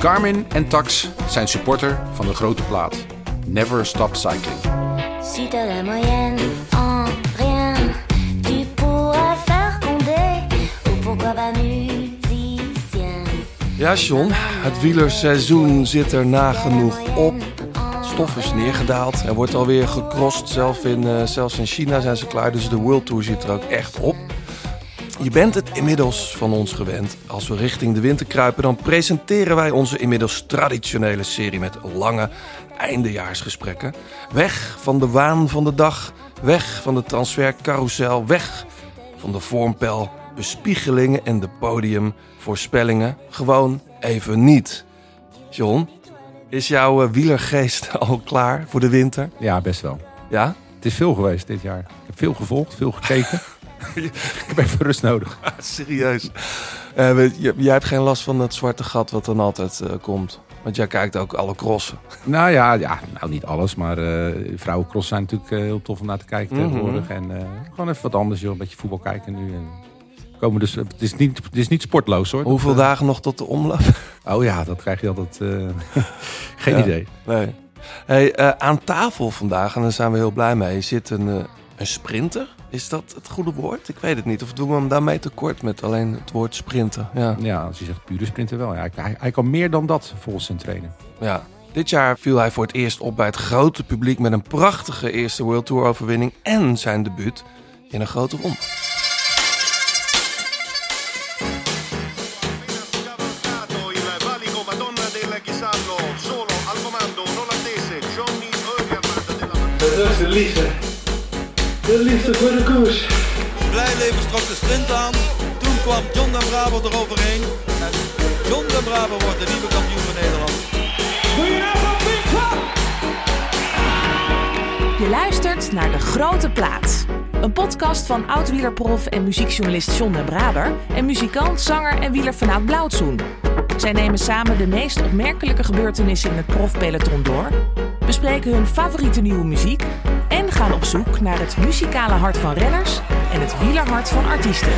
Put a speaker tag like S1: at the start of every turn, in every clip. S1: Garmin en Tax zijn supporter van de grote plaat. Never Stop Cycling.
S2: Si t'as la moyenne en rien, tu pourras faire condé. Ou pourquoi pas musicienne.
S3: Ja, John, het wielerseizoen zit er nagenoeg op. Stof is neergedaald. Er wordt alweer gecrossed. Zelf in, eh, zelfs in China zijn ze klaar. Dus de World Tour zit er ook echt op. Je bent het inmiddels van ons gewend. Als we richting de winter kruipen, dan presenteren wij onze inmiddels traditionele serie met lange eindejaarsgesprekken. Weg van de waan van de dag, weg van de transfercarousel, weg van de vormpel, bespiegelingen en de podiumvoorspellingen. Gewoon even niet. John, is jouw eh, wielergeest al klaar voor de winter?
S4: Ja, best wel.
S3: Ja?
S4: Het is veel geweest dit jaar. Ik heb veel gevolgd, veel gekeken. ik heb even rust nodig.
S3: Serieus. Eh, weet je, jij hebt geen last van dat zwarte gat wat dan altijd eh, komt. Want jij kijkt ook alle crossen.
S4: Nou ja, ja nou niet alles, maar eh vrouwencross zijn natuurlijk eh, heel tof om naar te kijken
S3: Mhm.
S4: tegenwoordig. En eh, gewoon even wat anders, joh. Een beetje voetbal kijken nu. En komen dus, het, is niet, het is niet sportloos hoor.
S3: Hoeveel
S4: Dat, eh,
S3: dagen nog tot de omloop?
S4: Oh ja, dat krijg je altijd. eh, geen
S3: Ja.
S4: idee.
S3: Nee. Hey, eh, aan tafel vandaag, en daar zijn we heel blij mee, zit een, eh, een sprinter. Is dat het goede woord? Ik weet het niet. Of doen we hem daarmee tekort met alleen het woord sprinten? Ja.
S4: Ja, als je zegt pure sprinter wel. Ja, hij- hij, hij kan meer dan dat volgens zijn trainer.
S3: ja. Dit jaar viel hij voor het eerst op bij het grote publiek met een prachtige eerste World Tour overwinning en zijn debuut in een grote ronde.
S5: cavalcato il valico Madonna del Chisallo, solo al comando un olandese Johnny Eugerman della
S6: Rustig, liefde. De liefde voor de koers.
S7: Blijleven trok de sprint aan. Toen kwam John den Bravo eroverheen. En John den Bravo wordt de nieuwe kampioen van Nederland.
S8: Je luistert naar De Grote Plaats. Een podcast van oud-wielerprof en muziekjournalist John den Braber... en muzikant, zanger en wieler vanuit Blauwtsoen. Zij nemen samen de meest opmerkelijke gebeurtenissen in het profpeloton door... bespreken hun favoriete nieuwe muziek... en gaan op zoek naar het muzikale hart van renners... en het wielerhart van artiesten.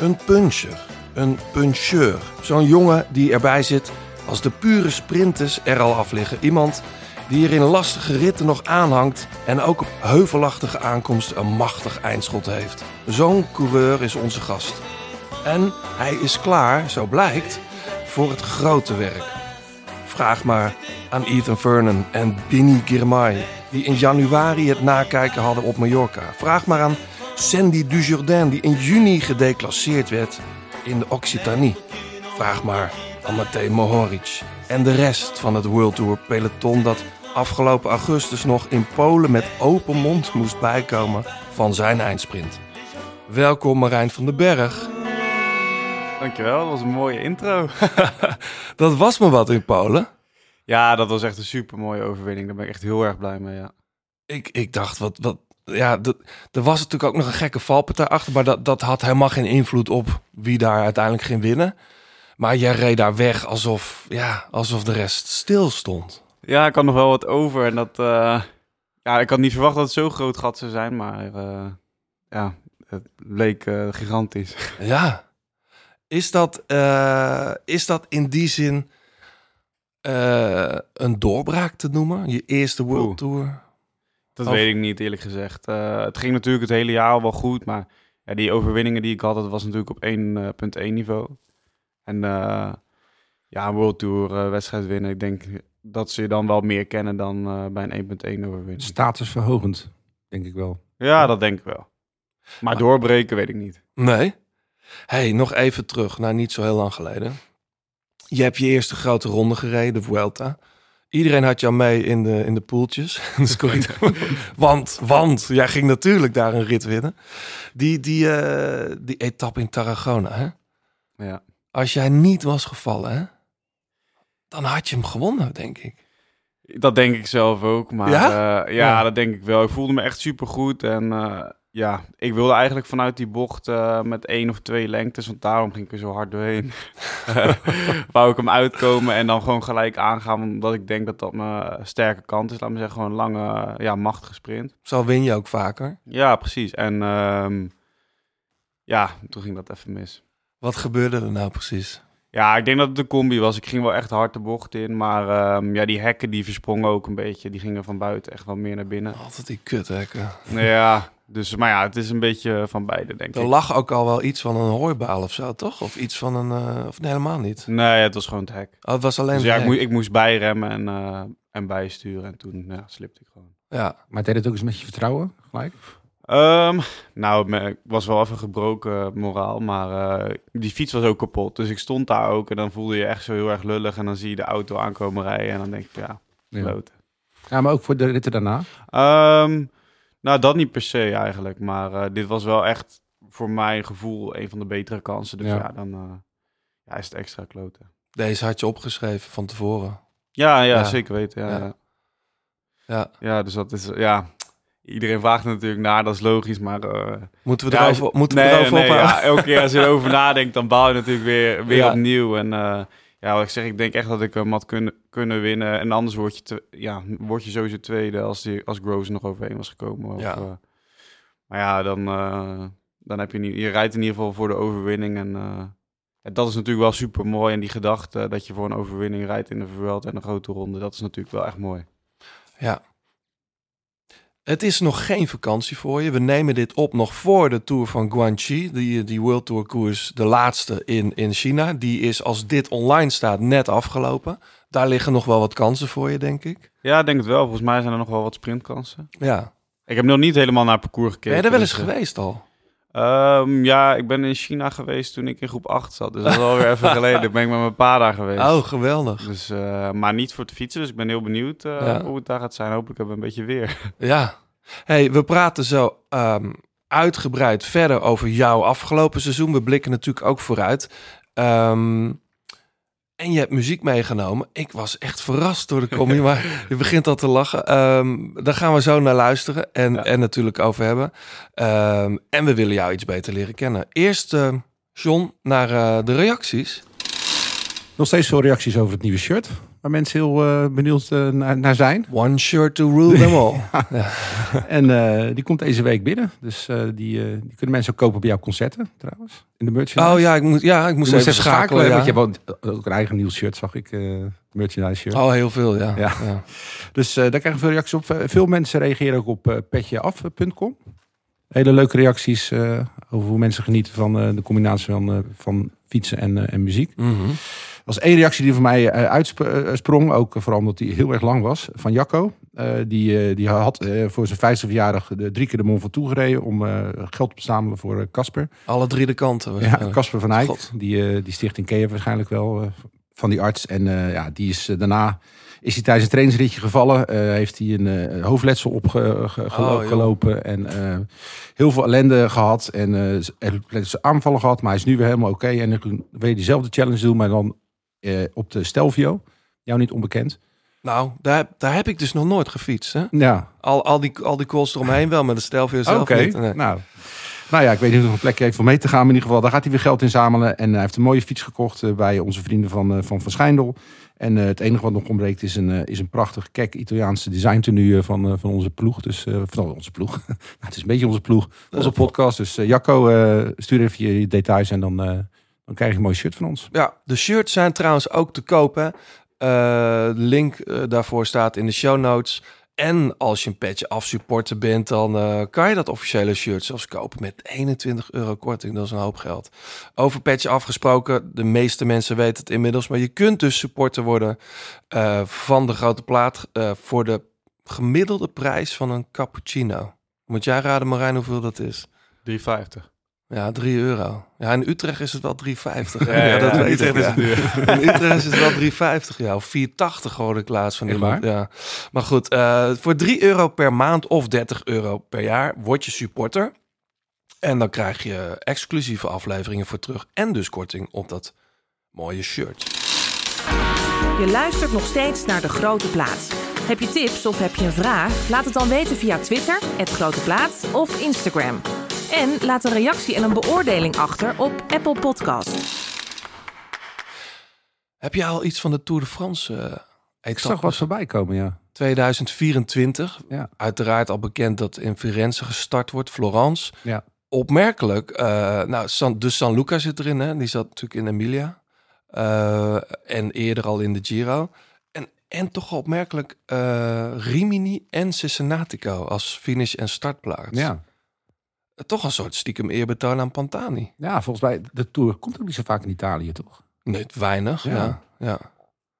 S3: Een puncher. Een puncheur. Zo'n jongen die erbij zit als de pure sprinters er al af liggen. Iemand die er in lastige ritten nog aanhangt en ook op heuvelachtige aankomst een machtig eindschot heeft. Zo'n coureur is onze gast. En hij is klaar, zo blijkt, voor het grote werk. Vraag maar aan Ethan Vernon en Binny Girmay, die in januari het nakijken hadden op Mallorca. Vraag maar aan Sandy Dujardin, die in juni gedeclasseerd werd in de Occitanie. Vraag maar aan Matej Mohoric en de rest van het World Tour peloton dat afgelopen augustus nog in Polen met open mond moest bijkomen van zijn eindsprint. Welkom Marijn van den Berg.
S9: Dankjewel, dat was een mooie intro.
S3: Dat was me wat in Polen.
S9: ja, dat was echt een super mooie overwinning. Daar ben ik echt heel erg blij mee. Ja,
S3: Ik, ik dacht, wat, wat, ja, dat- er was natuurlijk ook nog een gekke valpartij achter, maar dat, dat had helemaal geen invloed op wie daar uiteindelijk ging winnen. Maar jij reed daar weg alsof, ja, alsof de rest stil stond.
S9: ja ik had nog wel wat over. En dat, eh, ja, ik had niet verwacht dat het zo'n groot gat zou zijn, maar eh, ja, het leek eh, gigantisch.
S3: Ja. Is dat, eh, is dat in die zin eh, een doorbraak te noemen? Je eerste World
S9: Oeh.
S3: Tour?
S9: Dat
S3: Of-
S9: weet ik niet, eerlijk gezegd. Eh, het ging natuurlijk het hele jaar al wel goed, maar ja, die overwinningen die ik had, dat was natuurlijk op 1.1 niveau. En eh, ja, een World Tour eh, wedstrijd winnen, ik denk dat ze je dan wel meer kennen dan eh, bij een 1.1 overwinning.
S4: Statusverhogend, denk ik wel.
S9: Ja, Ah. dat denk ik wel. Maar doorbreken weet ik niet.
S3: Nee. hey, nog even terug naar niet zo heel lang geleden. Je hebt je eerste grote ronde gereden, de Vuelta. Iedereen had jou mee in de, in de poeltjes. Dus kon je- want, want, jij ging natuurlijk daar een rit winnen. Die, die, eh, die etappe in Tarragona, hè?
S9: Ja.
S3: Als jij niet was gevallen, hè? Dan had je hem gewonnen, denk ik.
S9: Dat denk ik zelf ook. Maar
S3: Ja?
S9: ja? ja,
S3: Ja.
S9: dat denk ik wel. Ik voelde me echt supergoed. En eh, ja, ik wilde eigenlijk vanuit die bocht eh, met één of twee lengtes, want daarom ging ik er zo hard doorheen. Wou ik hem uitkomen en dan gewoon gelijk aangaan, omdat ik denk dat dat mijn sterke kant is. Laat me zeggen, gewoon een lange, ja, machtige sprint.
S3: Zo win je ook vaker.
S9: Ja, precies. En ehm, ja, toen ging dat even mis.
S3: Wat gebeurde er nou precies?
S9: Ja, ik denk dat het een combi was. Ik ging wel echt hard de bocht in, maar ehm, ja, die hekken die versprongen ook een beetje. Die gingen van buiten echt wel meer naar binnen.
S3: Altijd die kuthekken.
S9: Nou ja, dus, maar ja, het is een beetje van beide, denk
S3: Er
S9: ik.
S3: lag ook al wel iets van een hooibaal of zo, toch? Of iets van een... eh, of nee, helemaal niet.
S9: Nee, het was gewoon het hek.
S3: Oh, het was alleen...
S9: Dus ja,
S3: het
S9: ik,
S3: hek.
S9: moe- ik moest bijremmen en, eh, en bijsturen. En toen ja, slipte ik gewoon.
S3: Ja,
S10: Maar deed het ook eens met je vertrouwen gelijk?
S9: Ehm, nou, me- ik was wel even gebroken moraal, maar eh, die fiets was ook kapot. Dus ik stond daar ook en dan voelde je echt zo heel erg lullig. En dan zie je de auto aankomen rijden en dan denk ik, ja,
S10: Ja.
S9: kloten.
S10: ja, maar ook voor de ritten daarna.
S9: Ehm, nou, dat niet per se eigenlijk. Maar eh, dit was wel echt voor mijn gevoel een van de betere kansen. Dus
S10: Ja.
S9: ja, dan eh, ja, is het extra kloten.
S3: deze had je opgeschreven van tevoren.
S9: Ja, ja,
S3: Ja.
S9: zeker weten. Ja,
S3: Ja.
S9: ja.
S3: Ja.
S9: Ja, dus dat is... Ja, iedereen vraagt er natuurlijk naar, dat is logisch, maar... eh,
S3: Moeten we
S9: ja,
S3: erover, moeten we
S9: nee,
S3: erover
S9: nee,
S3: op-
S9: ja, elke keer als je erover nadenkt, dan bouw je natuurlijk weer, weer
S3: Ja.
S9: opnieuw. En eh, ja, wat ik zeg, ik denk echt dat ik hem had kunnen, kunnen winnen. En anders word je, te, ja, word je sowieso tweede als, die, als Groves nog overheen was gekomen. Of,
S3: Ja.
S9: eh, maar ja, dan, eh, dan heb je niet... Je rijdt in ieder geval voor de overwinning en... eh, en dat is natuurlijk wel super mooi. En die gedachte dat je voor een overwinning rijdt in de Vuelta en een grote ronde, dat is natuurlijk wel echt mooi.
S3: Het is nog geen vakantie voor je. We nemen dit op nog voor de Tour van Guangxi. Die, die World Tour koers, de laatste in, in China. Die is, als dit online staat, net afgelopen. Daar liggen nog wel wat kansen voor je, denk ik.
S9: Ja, ik denk het wel. Volgens mij zijn er nog wel wat sprintkansen.
S3: Ja.
S9: Ik heb nog niet helemaal naar het parcours gekeken.
S3: Ben je er wel eens
S9: dus, eh,
S3: geweest al?
S9: Ehm, ja, ik ben in China geweest toen ik in groep 8 zat. Dus dat is alweer even geleden. Ik ben ik met mijn pa daar geweest.
S3: Oh, geweldig.
S9: Dus, eh, maar niet voor het fietsen, dus ik ben heel benieuwd eh,
S3: Ja.
S9: hoe het daar gaat zijn. Hopelijk hebben we een beetje weer.
S3: Ja. hey, we praten zo ehm, uitgebreid verder over jouw afgelopen seizoen. We blikken natuurlijk ook vooruit. Ehm, en je hebt muziek meegenomen. Ik was echt verrast door de combi, maar je begint al te lachen. Ehm daar gaan we zo naar luisteren en,
S9: Ja.
S3: en natuurlijk over hebben. Ehm, en we willen jou iets beter leren kennen. Eerst, eh, John, naar eh, de reacties.
S10: Nog steeds veel reacties over het nieuwe shirt. Waar mensen heel eh, benieuwd eh, naar, naar zijn.
S3: One shirt to rule them all.
S10: En eh, die komt deze week binnen. Dus eh, die, eh, die kunnen mensen ook kopen bij jouw concerten trouwens. In de merchandise.
S3: Oh ja, ik, moet, ja, ik moest
S10: Je moest
S3: even, schakelen.
S10: Want je
S3: ja.
S10: hebt ook- ook een eigen nieuw shirt, zag ik. eh merchandise shirt.
S3: Oh, heel veel, ja.
S10: Ja.
S3: ja.
S10: Dus eh, daar krijgen we veel reacties op. Eh, Veel mensen reageren ook op eh, petjeaf.com. Hele leuke reacties eh, over hoe mensen genieten van eh, de combinatie van, eh, van fietsen en, eh, en muziek.
S3: Mhm.
S10: Er was één reactie die voor mij eh, uitsprong. Ook eh, vooral omdat die heel erg lang was. Van Jacco. Eh, die, eh, die had eh, voor zijn 50-verjaardag de- drie keer de Mont Ventoux gereden. Om eh, geld op te zamelen voor eh, Casper.
S3: Alle drie de kanten.
S10: Ja,
S3: waarschijnlijk.
S10: Casper van Eyck,
S3: God.
S10: die, eh, die stichting ken je waarschijnlijk wel, eh, van die arts. En eh, ja, die is eh, daarna, is hij tijdens een trainingsritje gevallen. eh, heeft hij een eh, hoofdletsel
S3: Oh, joh.
S10: opgelopen en eh, heel veel ellende gehad. En eh, z- epileptische aanvallen gehad, maar hij is nu weer helemaal oké. En dan wil je diezelfde challenge doen, maar dan eh, op de Stelvio. Jou niet onbekend.
S3: Nou, daar, daar heb ik dus nog nooit gefietst. Hè?
S10: Ja,
S3: Al, al, die, al die calls eromheen wel, maar de stijl voor jezelf
S10: Oké,
S3: niet. Nee.
S10: nou. Nou ja, ik weet niet of er een plekje heeft om mee te gaan. Maar in ieder geval, daar gaat hij weer geld in zamelen. En hij heeft een mooie fiets gekocht eh, bij onze vrienden van eh, Van, van Schijndel. En eh, het enige wat nog ontbreekt is een, eh, is een prachtig kek Italiaanse design van, eh, van onze ploeg. Dus, eh, van onze ploeg. Nou, het is een beetje onze ploeg. Onze podcast. Dus eh, Jacco, eh, stuur even je details en dan, eh, dan krijg je een mooi shirt van ons.
S3: Ja, de shirts zijn trouwens ook te koop. Hè? Eh, de link eh, daarvoor staat in de show notes. En als je een petje afsupporter bent, dan eh, kan je dat officiële shirt zelfs kopen met 21 euro korting. Dat is een hoop geld. Over petje afgesproken, de meeste mensen weten het inmiddels. Maar je kunt dus supporter worden eh, van de grote plaat eh, voor de gemiddelde prijs van een cappuccino. Moet jij raden, Marijn, hoeveel dat is?
S9: 3,50.
S3: Ja, 3 euro. Ja, in Utrecht is het wel 3,50. Ja,
S9: dat
S3: weet ik,
S9: is
S3: ja.
S9: het duur.
S3: In Utrecht is het wel 3,50 ja, of 4,80 hoorde ik laatst van
S10: Echt
S3: iemand. Ja. Maar goed, eh, voor 3 euro per maand of 30 euro per jaar word je supporter. En dan krijg je exclusieve afleveringen voor terug en dus korting op dat mooie shirt.
S8: Je luistert nog steeds naar De Grote Plaats. Heb je tips of heb je een vraag? Laat het dan weten via Twitter, het Grote Plaat of Instagram. En laat een reactie en een beoordeling achter op Apple Podcast.
S3: Heb jij al iets van de Tour de France? eh,
S4: Ik zag wat voorbij komen, ja.
S3: 2024.
S4: Ja.
S3: Uiteraard al bekend dat in Firenze gestart wordt, Florence.
S4: Ja.
S3: Opmerkelijk, eh, nou, San, de San Luca zit erin, hè? die zat natuurlijk in Emilia. Eh, en eerder al in de Giro. En, en toch wel opmerkelijk eh, Rimini en Cincinnatico als finish en startplaats.
S4: ja.
S3: Toch een soort stiekem eerbetoon aan Pantani.
S4: Ja, volgens mij, de Tour komt ook niet zo vaak in Italië, toch?
S3: Nee, weinig, ja.
S4: Ja.
S3: ja.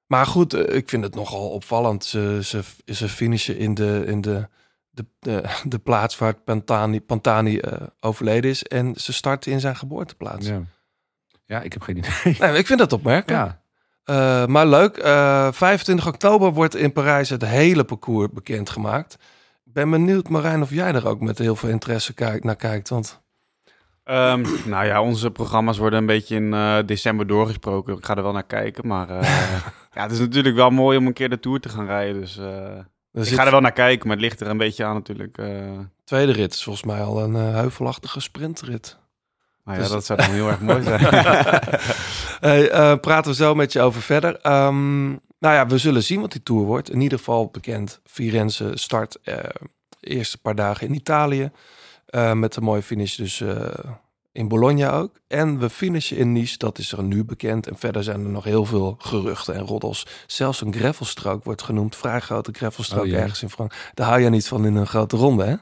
S3: Maar goed, eh, ik vind het nogal opvallend. Ze, ze, ze finishen in de, in de, de, de, de plaats waar Pantani, Pantani eh, overleden is. En ze starten in zijn geboorteplaats.
S4: Ja. ja, ik heb geen idee.
S3: Nee, maar ik vind dat opmerkelijk.
S4: Ja,
S3: Eh, maar leuk, eh, 25 oktober wordt in Parijs het hele parcours bekendgemaakt. Ik ben benieuwd, Marijn, of jij er ook met heel veel interesse kijk, naar kijkt. Want
S9: Ehm, nou ja, onze programma's worden een beetje in eh, december doorgesproken. Ik ga er wel naar kijken, maar eh, ja, het is natuurlijk wel mooi om een keer de Tour te gaan rijden. Dus eh,
S3: er
S9: ik
S3: zit
S9: ga er wel naar kijken, maar het ligt er een beetje aan natuurlijk. eh. nou
S3: tweede rit is volgens mij al een eh, heuvelachtige sprintrit.
S9: ja,
S3: Dus-
S9: dat zou dan heel erg mooi zijn.
S3: Hey, eh, praten we zo met je over verder. Ehm, nou ja, we zullen zien wat die tour wordt. In ieder geval bekend. Firenze start eh, de eerste paar dagen in Italië. Eh, met een mooie finish dus eh, in Bologna ook. En we finishen in Nice, dat is er nu bekend. En verder zijn er nog heel veel geruchten en roddels. Zelfs een gravelstrook wordt genoemd. Vrij grote gravelstrook
S4: Oh jee.
S3: ergens in Frankrijk. Daar hou jij niet van in een grote ronde, hè?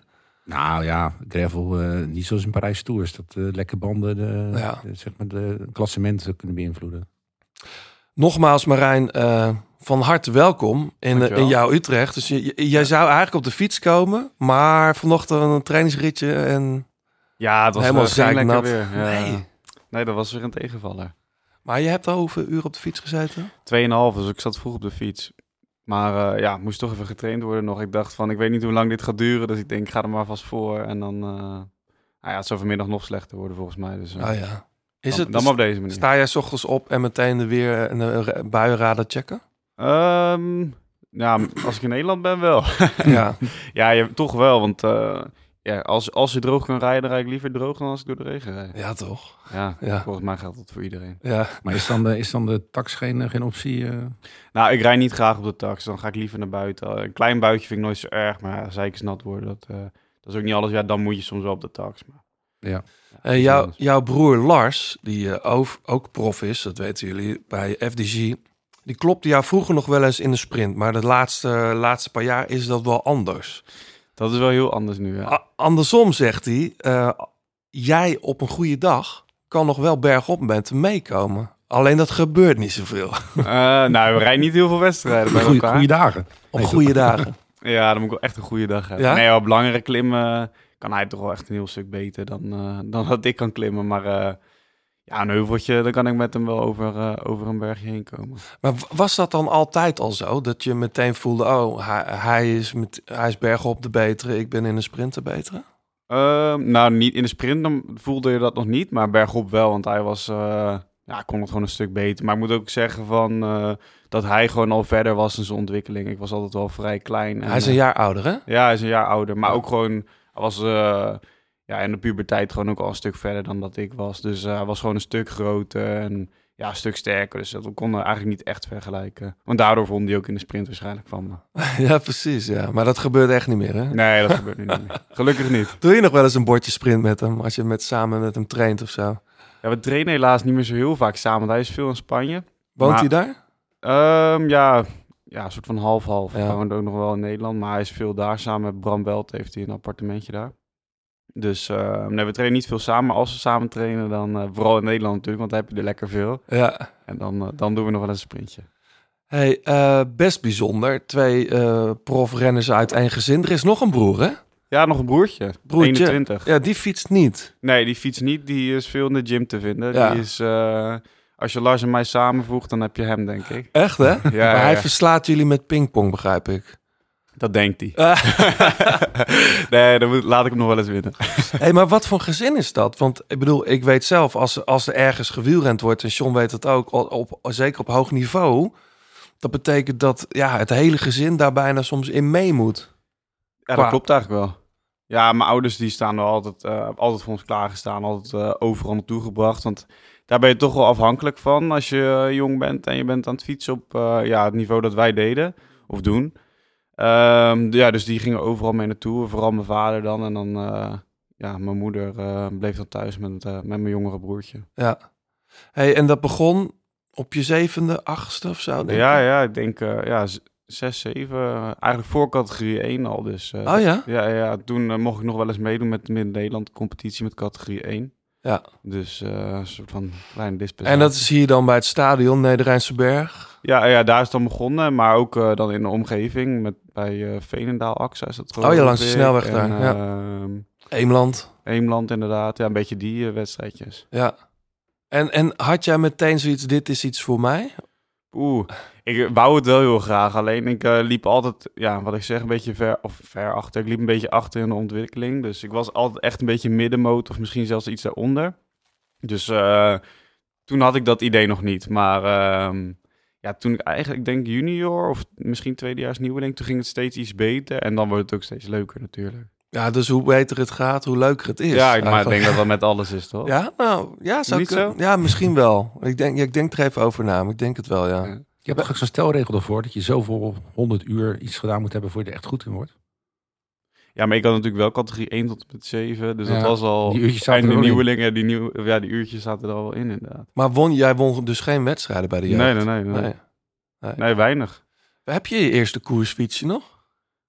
S4: Nou ja, gravel, eh, niet zoals in Parijs Tours. Dat eh lekke banden de,
S3: Ja.
S4: de- zeg maar de klassementen kunnen beïnvloeden.
S3: Nogmaals, Marijn, eh, van harte welkom in, eh,
S9: Dankjewel.
S3: in jouw Utrecht. Dus je- je- jij zou eigenlijk op de fiets komen, maar vanochtend een trainingsritje en...
S9: ja, het was
S3: Helemaal
S9: eh, geen
S3: zeiknat.
S9: lekker weer. Ja.
S3: Nee.
S9: nee, dat was weer een tegenvaller.
S3: Maar je hebt al hoeveel uur op de fiets gezeten?
S9: Tweeënhalf, dus ik zat vroeg op de fiets. Maar eh, ja, moest toch even getraind worden nog. Ik dacht van, ik weet niet hoe lang dit gaat duren. Dus ik denk, ik ga er maar vast voor. En dan, eh, nou ja, het zou vanmiddag nog slechter worden volgens mij. Dus eh,
S3: Nou ja. Is
S9: dan,
S3: het, dus
S9: dan maar op deze manier.
S3: sta jij 's ochtends op en meteen de weer en de ra- buienradar checken?
S9: Ehm, ja, m- als ik in Nederland ben wel.
S3: ja.
S9: ja, je, toch wel, want eh, ja, als, als je droog kan rijden, dan rijd ik liever droog dan als ik door de regen rijd.
S3: ja, toch?
S9: Ja,
S3: Ja.
S9: volgens mij geldt dat voor iedereen.
S3: Ja.
S4: Maar is dan de, is dan de tax geen, eh, geen optie? eh?
S9: Nou, ik rijd niet graag op de tax, dan ga ik liever naar buiten. Een klein buitje vind ik nooit zo erg, maar ja, zeikers nat worden, dat, eh, dat is ook niet alles. Ja, dan moet je soms wel op de tax. Maar,
S4: Ja.
S9: Ja,
S3: Eh,
S9: iets
S3: jouw,
S9: anders.
S3: jouw broer Lars, die eh, ook, ook prof is, dat weten jullie, bij FDG. Die klopte jou vroeger nog wel eens in de sprint. Maar de laatste, laatste paar jaar is dat wel anders.
S9: Dat is wel heel anders nu, ja.
S3: A- andersom zegt hij, eh, jij op een goede dag kan nog wel bergop met hem meekomen. Alleen dat gebeurt niet zoveel.
S9: Eh, nou, we rijden niet heel veel wedstrijden bij
S4: Goeie,
S9: elkaar.
S4: goeie dagen.
S3: Op
S4: Nee,
S3: goede dagen.
S9: Ja, dan moet ik wel echt een goede dag hebben.
S3: Ja?
S9: Nee, op langere klimmen kan hij toch wel echt een heel stuk beter dan, eh, dan dat ik kan klimmen. Maar eh, ja, een heuveltje, dan kan ik met hem wel over, eh, over een bergje heen komen.
S3: Maar w- was dat dan altijd al zo? Dat je meteen voelde, oh, hij, hij is, met, hij is bergop de betere, ik ben in een sprint de betere?
S9: Ehm, nou, niet in de sprint dan voelde je dat nog niet, maar bergop wel. Want hij was, eh, ja, kon het gewoon een stuk beter. Maar ik moet ook zeggen van, eh, dat hij gewoon al verder was in zijn ontwikkeling. Ik was altijd wel vrij klein. en,
S3: hij is een
S9: eh,
S3: jaar ouder, hè?
S9: Ja, hij is een jaar ouder. Maar ook gewoon, hij was eh, ja, in de puberteit gewoon ook al een stuk verder dan dat ik was. Dus eh, hij was gewoon een stuk groter en ja, een stuk sterker. Dus dat we konden eigenlijk niet echt vergelijken. Want daardoor vond hij ook in de sprint waarschijnlijk van me.
S3: ja, precies. Ja. Maar dat gebeurt echt niet meer, hè?
S9: Nee, dat gebeurt nu niet meer. Gelukkig niet.
S3: Doe je nog wel eens een bordje sprint met hem, als je met, samen met hem traint of zo?
S9: Ja, we trainen helaas niet meer zo heel vaak samen. want Hij is veel in Spanje.
S3: Woont
S9: Maar-
S3: hij daar?
S9: Ehm, ja, ja, een soort van half-half.
S3: Ja.
S9: Hij woont ook nog wel in Nederland, maar hij is veel daar. Samen met Bram Belt heeft hij een appartementje daar. Dus ehm, nee, we trainen niet veel samen. Maar als we samen trainen, dan eh, vooral in Nederland natuurlijk, want daar heb je er lekker veel.
S3: Ja.
S9: En dan, eh, dan doen we nog wel eens een sprintje.
S3: Hey, eh, best bijzonder. Twee eh, profrenners uit één gezin. Er is nog een broer, hè?
S9: Ja, nog een broertje.
S3: Broertje.
S9: 21.
S3: Ja, die fietst niet.
S9: Nee, die fiets niet. Die is veel in de gym te vinden.
S3: Ja.
S9: Die is, eh, als je Lars en mij samenvoegt, dan heb je hem, denk ik.
S3: Echt, hè?
S9: Ja,
S3: maar
S9: ja,
S3: hij
S9: ja.
S3: verslaat jullie met pingpong, begrijp ik.
S9: dat denkt hij.
S3: Ah.
S9: nee, dan moet- laat ik hem nog wel eens winnen.
S3: hey, maar wat voor gezin is dat? Want ik bedoel, ik weet zelf, als, als er ergens gewielrend wordt... en John weet het ook, op, op- zeker op hoog niveau... Dat betekent dat ja, het hele gezin daar bijna soms in mee moet.
S9: Ja, dat
S3: Qua-
S9: klopt eigenlijk wel. Ja, mijn ouders die staan er altijd, eh, altijd voor ons klaargestaan, altijd eh, overal naartoe gebracht. Want daar ben je toch wel afhankelijk van als je eh, jong bent en je bent aan het fietsen op eh, ja, het niveau dat wij deden of doen. Ehm, ja, dus die gingen overal mee naartoe, vooral mijn vader dan. En dan, eh, ja, mijn moeder eh, bleef dan thuis met, eh, met mijn jongere broertje.
S3: Ja. Hey, en dat begon op je zevende, achtste of zo? denk
S9: Ja,
S3: ik?
S9: ja, ik denk eh, ja, z- zes, zeven, eh, eigenlijk voor categorie 1 al. Dus, eh,
S3: Oh ja?
S9: Ja, ja, toen eh, mocht ik nog wel eens meedoen met de Midden-Nederland competitie met categorie 1.
S3: Ja.
S9: Dus eh, een soort van kleine dispensatie.
S3: En dat is hier dan bij het stadion Nederrijnse Berg.
S9: Ja, ja, daar is het dan begonnen, maar ook eh, dan in de omgeving met, bij eh Veenendaal AXA is dat
S3: Oh ja,
S9: geloof
S3: langs de
S9: ik.
S3: snelweg
S9: En,
S3: daar, ja.
S9: ehm,
S3: Eemland.
S9: Eemland inderdaad, ja, een beetje die eh, wedstrijdjes.
S3: Ja. En, en had jij meteen zoiets, dit is iets voor mij?
S9: Oeh, ik wou het wel heel graag. Alleen ik eh, liep altijd, ja, wat ik zeg, een beetje ver, of ver achter. Ik liep een beetje achter in de ontwikkeling. Dus ik was altijd echt een beetje middenmoot of misschien zelfs iets daaronder. Dus eh, toen had ik dat idee nog niet. Maar ehm, ja, toen ik eigenlijk, ik denk junior of misschien tweedejaars nieuweling, toen ging het steeds iets beter. En dan wordt het ook steeds leuker natuurlijk.
S3: Ja, dus hoe beter het gaat, hoe leuker het is.
S9: ja, ik- maar ik
S3: eigenlijk.
S9: denk dat dat met alles is, toch?
S3: Ja, nou, ja, zou
S9: Niet
S3: kunnen.
S9: zo?
S3: Ja, misschien wel. Ik denk, ja, ik denk er even over na, maar ik denk het wel, ja.
S9: Ja.
S10: Je hebt toch ook zo'n stelregel ervoor dat je zoveel 100 uur iets gedaan moet hebben voor je er echt goed in wordt.
S9: Ja, maar ik had natuurlijk wel categorie 1 tot en met 7. Dus dat
S10: Ja,
S9: was
S4: Oh,
S9: al...
S10: Die uurtjes zaten
S9: En
S10: er
S9: de
S10: ook in.
S9: nieuwelingen, die, nieuw, ja, die uurtjes zaten er al wel in, inderdaad.
S3: Maar won, jij won dus geen wedstrijden bij de jeugd?
S9: Nee, nee, nee, nee.
S3: Nee.
S9: Nee, weinig.
S3: Heb je je eerste koersfietsje nog?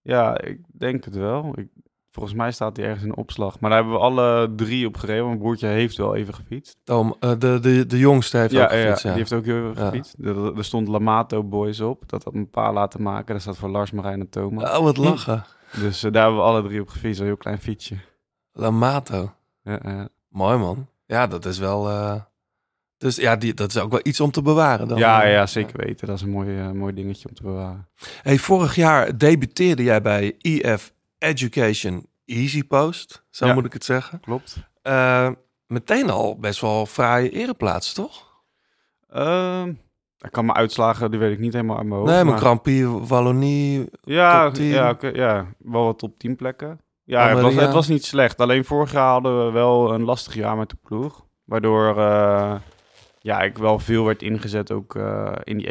S9: Ja, ik denk het wel. Ik, volgens mij staat die ergens in de opslag. Maar daar hebben we alle drie op gereden. want Mijn broertje heeft wel even gefietst.
S3: Tom, eh, de, de, de jongste heeft ook gefietst, ja.
S9: die heeft ook heel even
S3: Ja.
S9: gefietst. Er, er stond Lamato Boys op. Dat had een paar laten maken. Dat staat voor Lars, Marijn en Thomas.
S3: Oh, wat lachen.
S9: Dus eh, daar hebben we alle drie op gefietst. Een heel klein fietsje.
S3: Lamato.
S9: Ja, ja.
S3: Mooi, man. Ja, dat is wel... eh, Dus ja, die, dat is ook wel iets om te bewaren dan. eh,
S9: ja, ja, zeker weten. Dat is een mooi, eh, mooi dingetje om te bewaren.
S3: Hey, vorig jaar debuteerde jij bij EF Education Easy Post. Zo
S9: Ja.
S3: moet ik het zeggen.
S9: Klopt.
S3: Eh, meteen al best wel fraaie ereplaats, toch?
S9: Ehm, ik kan mijn uitslagen, die weet ik niet helemaal uit mijn hoofd.
S3: nee, mijn
S9: Oh, maar-
S3: Krampie, Wallonie.
S9: Ja,
S3: Top 10.
S9: ja, oké, ja, wel wat top 10 plekken. Ja, het
S3: Amaria.
S9: was, het was niet slecht. Alleen vorig jaar hadden we wel een lastig jaar met de ploeg. Waardoor eh, ja, ik wel veel werd ingezet ook eh, in die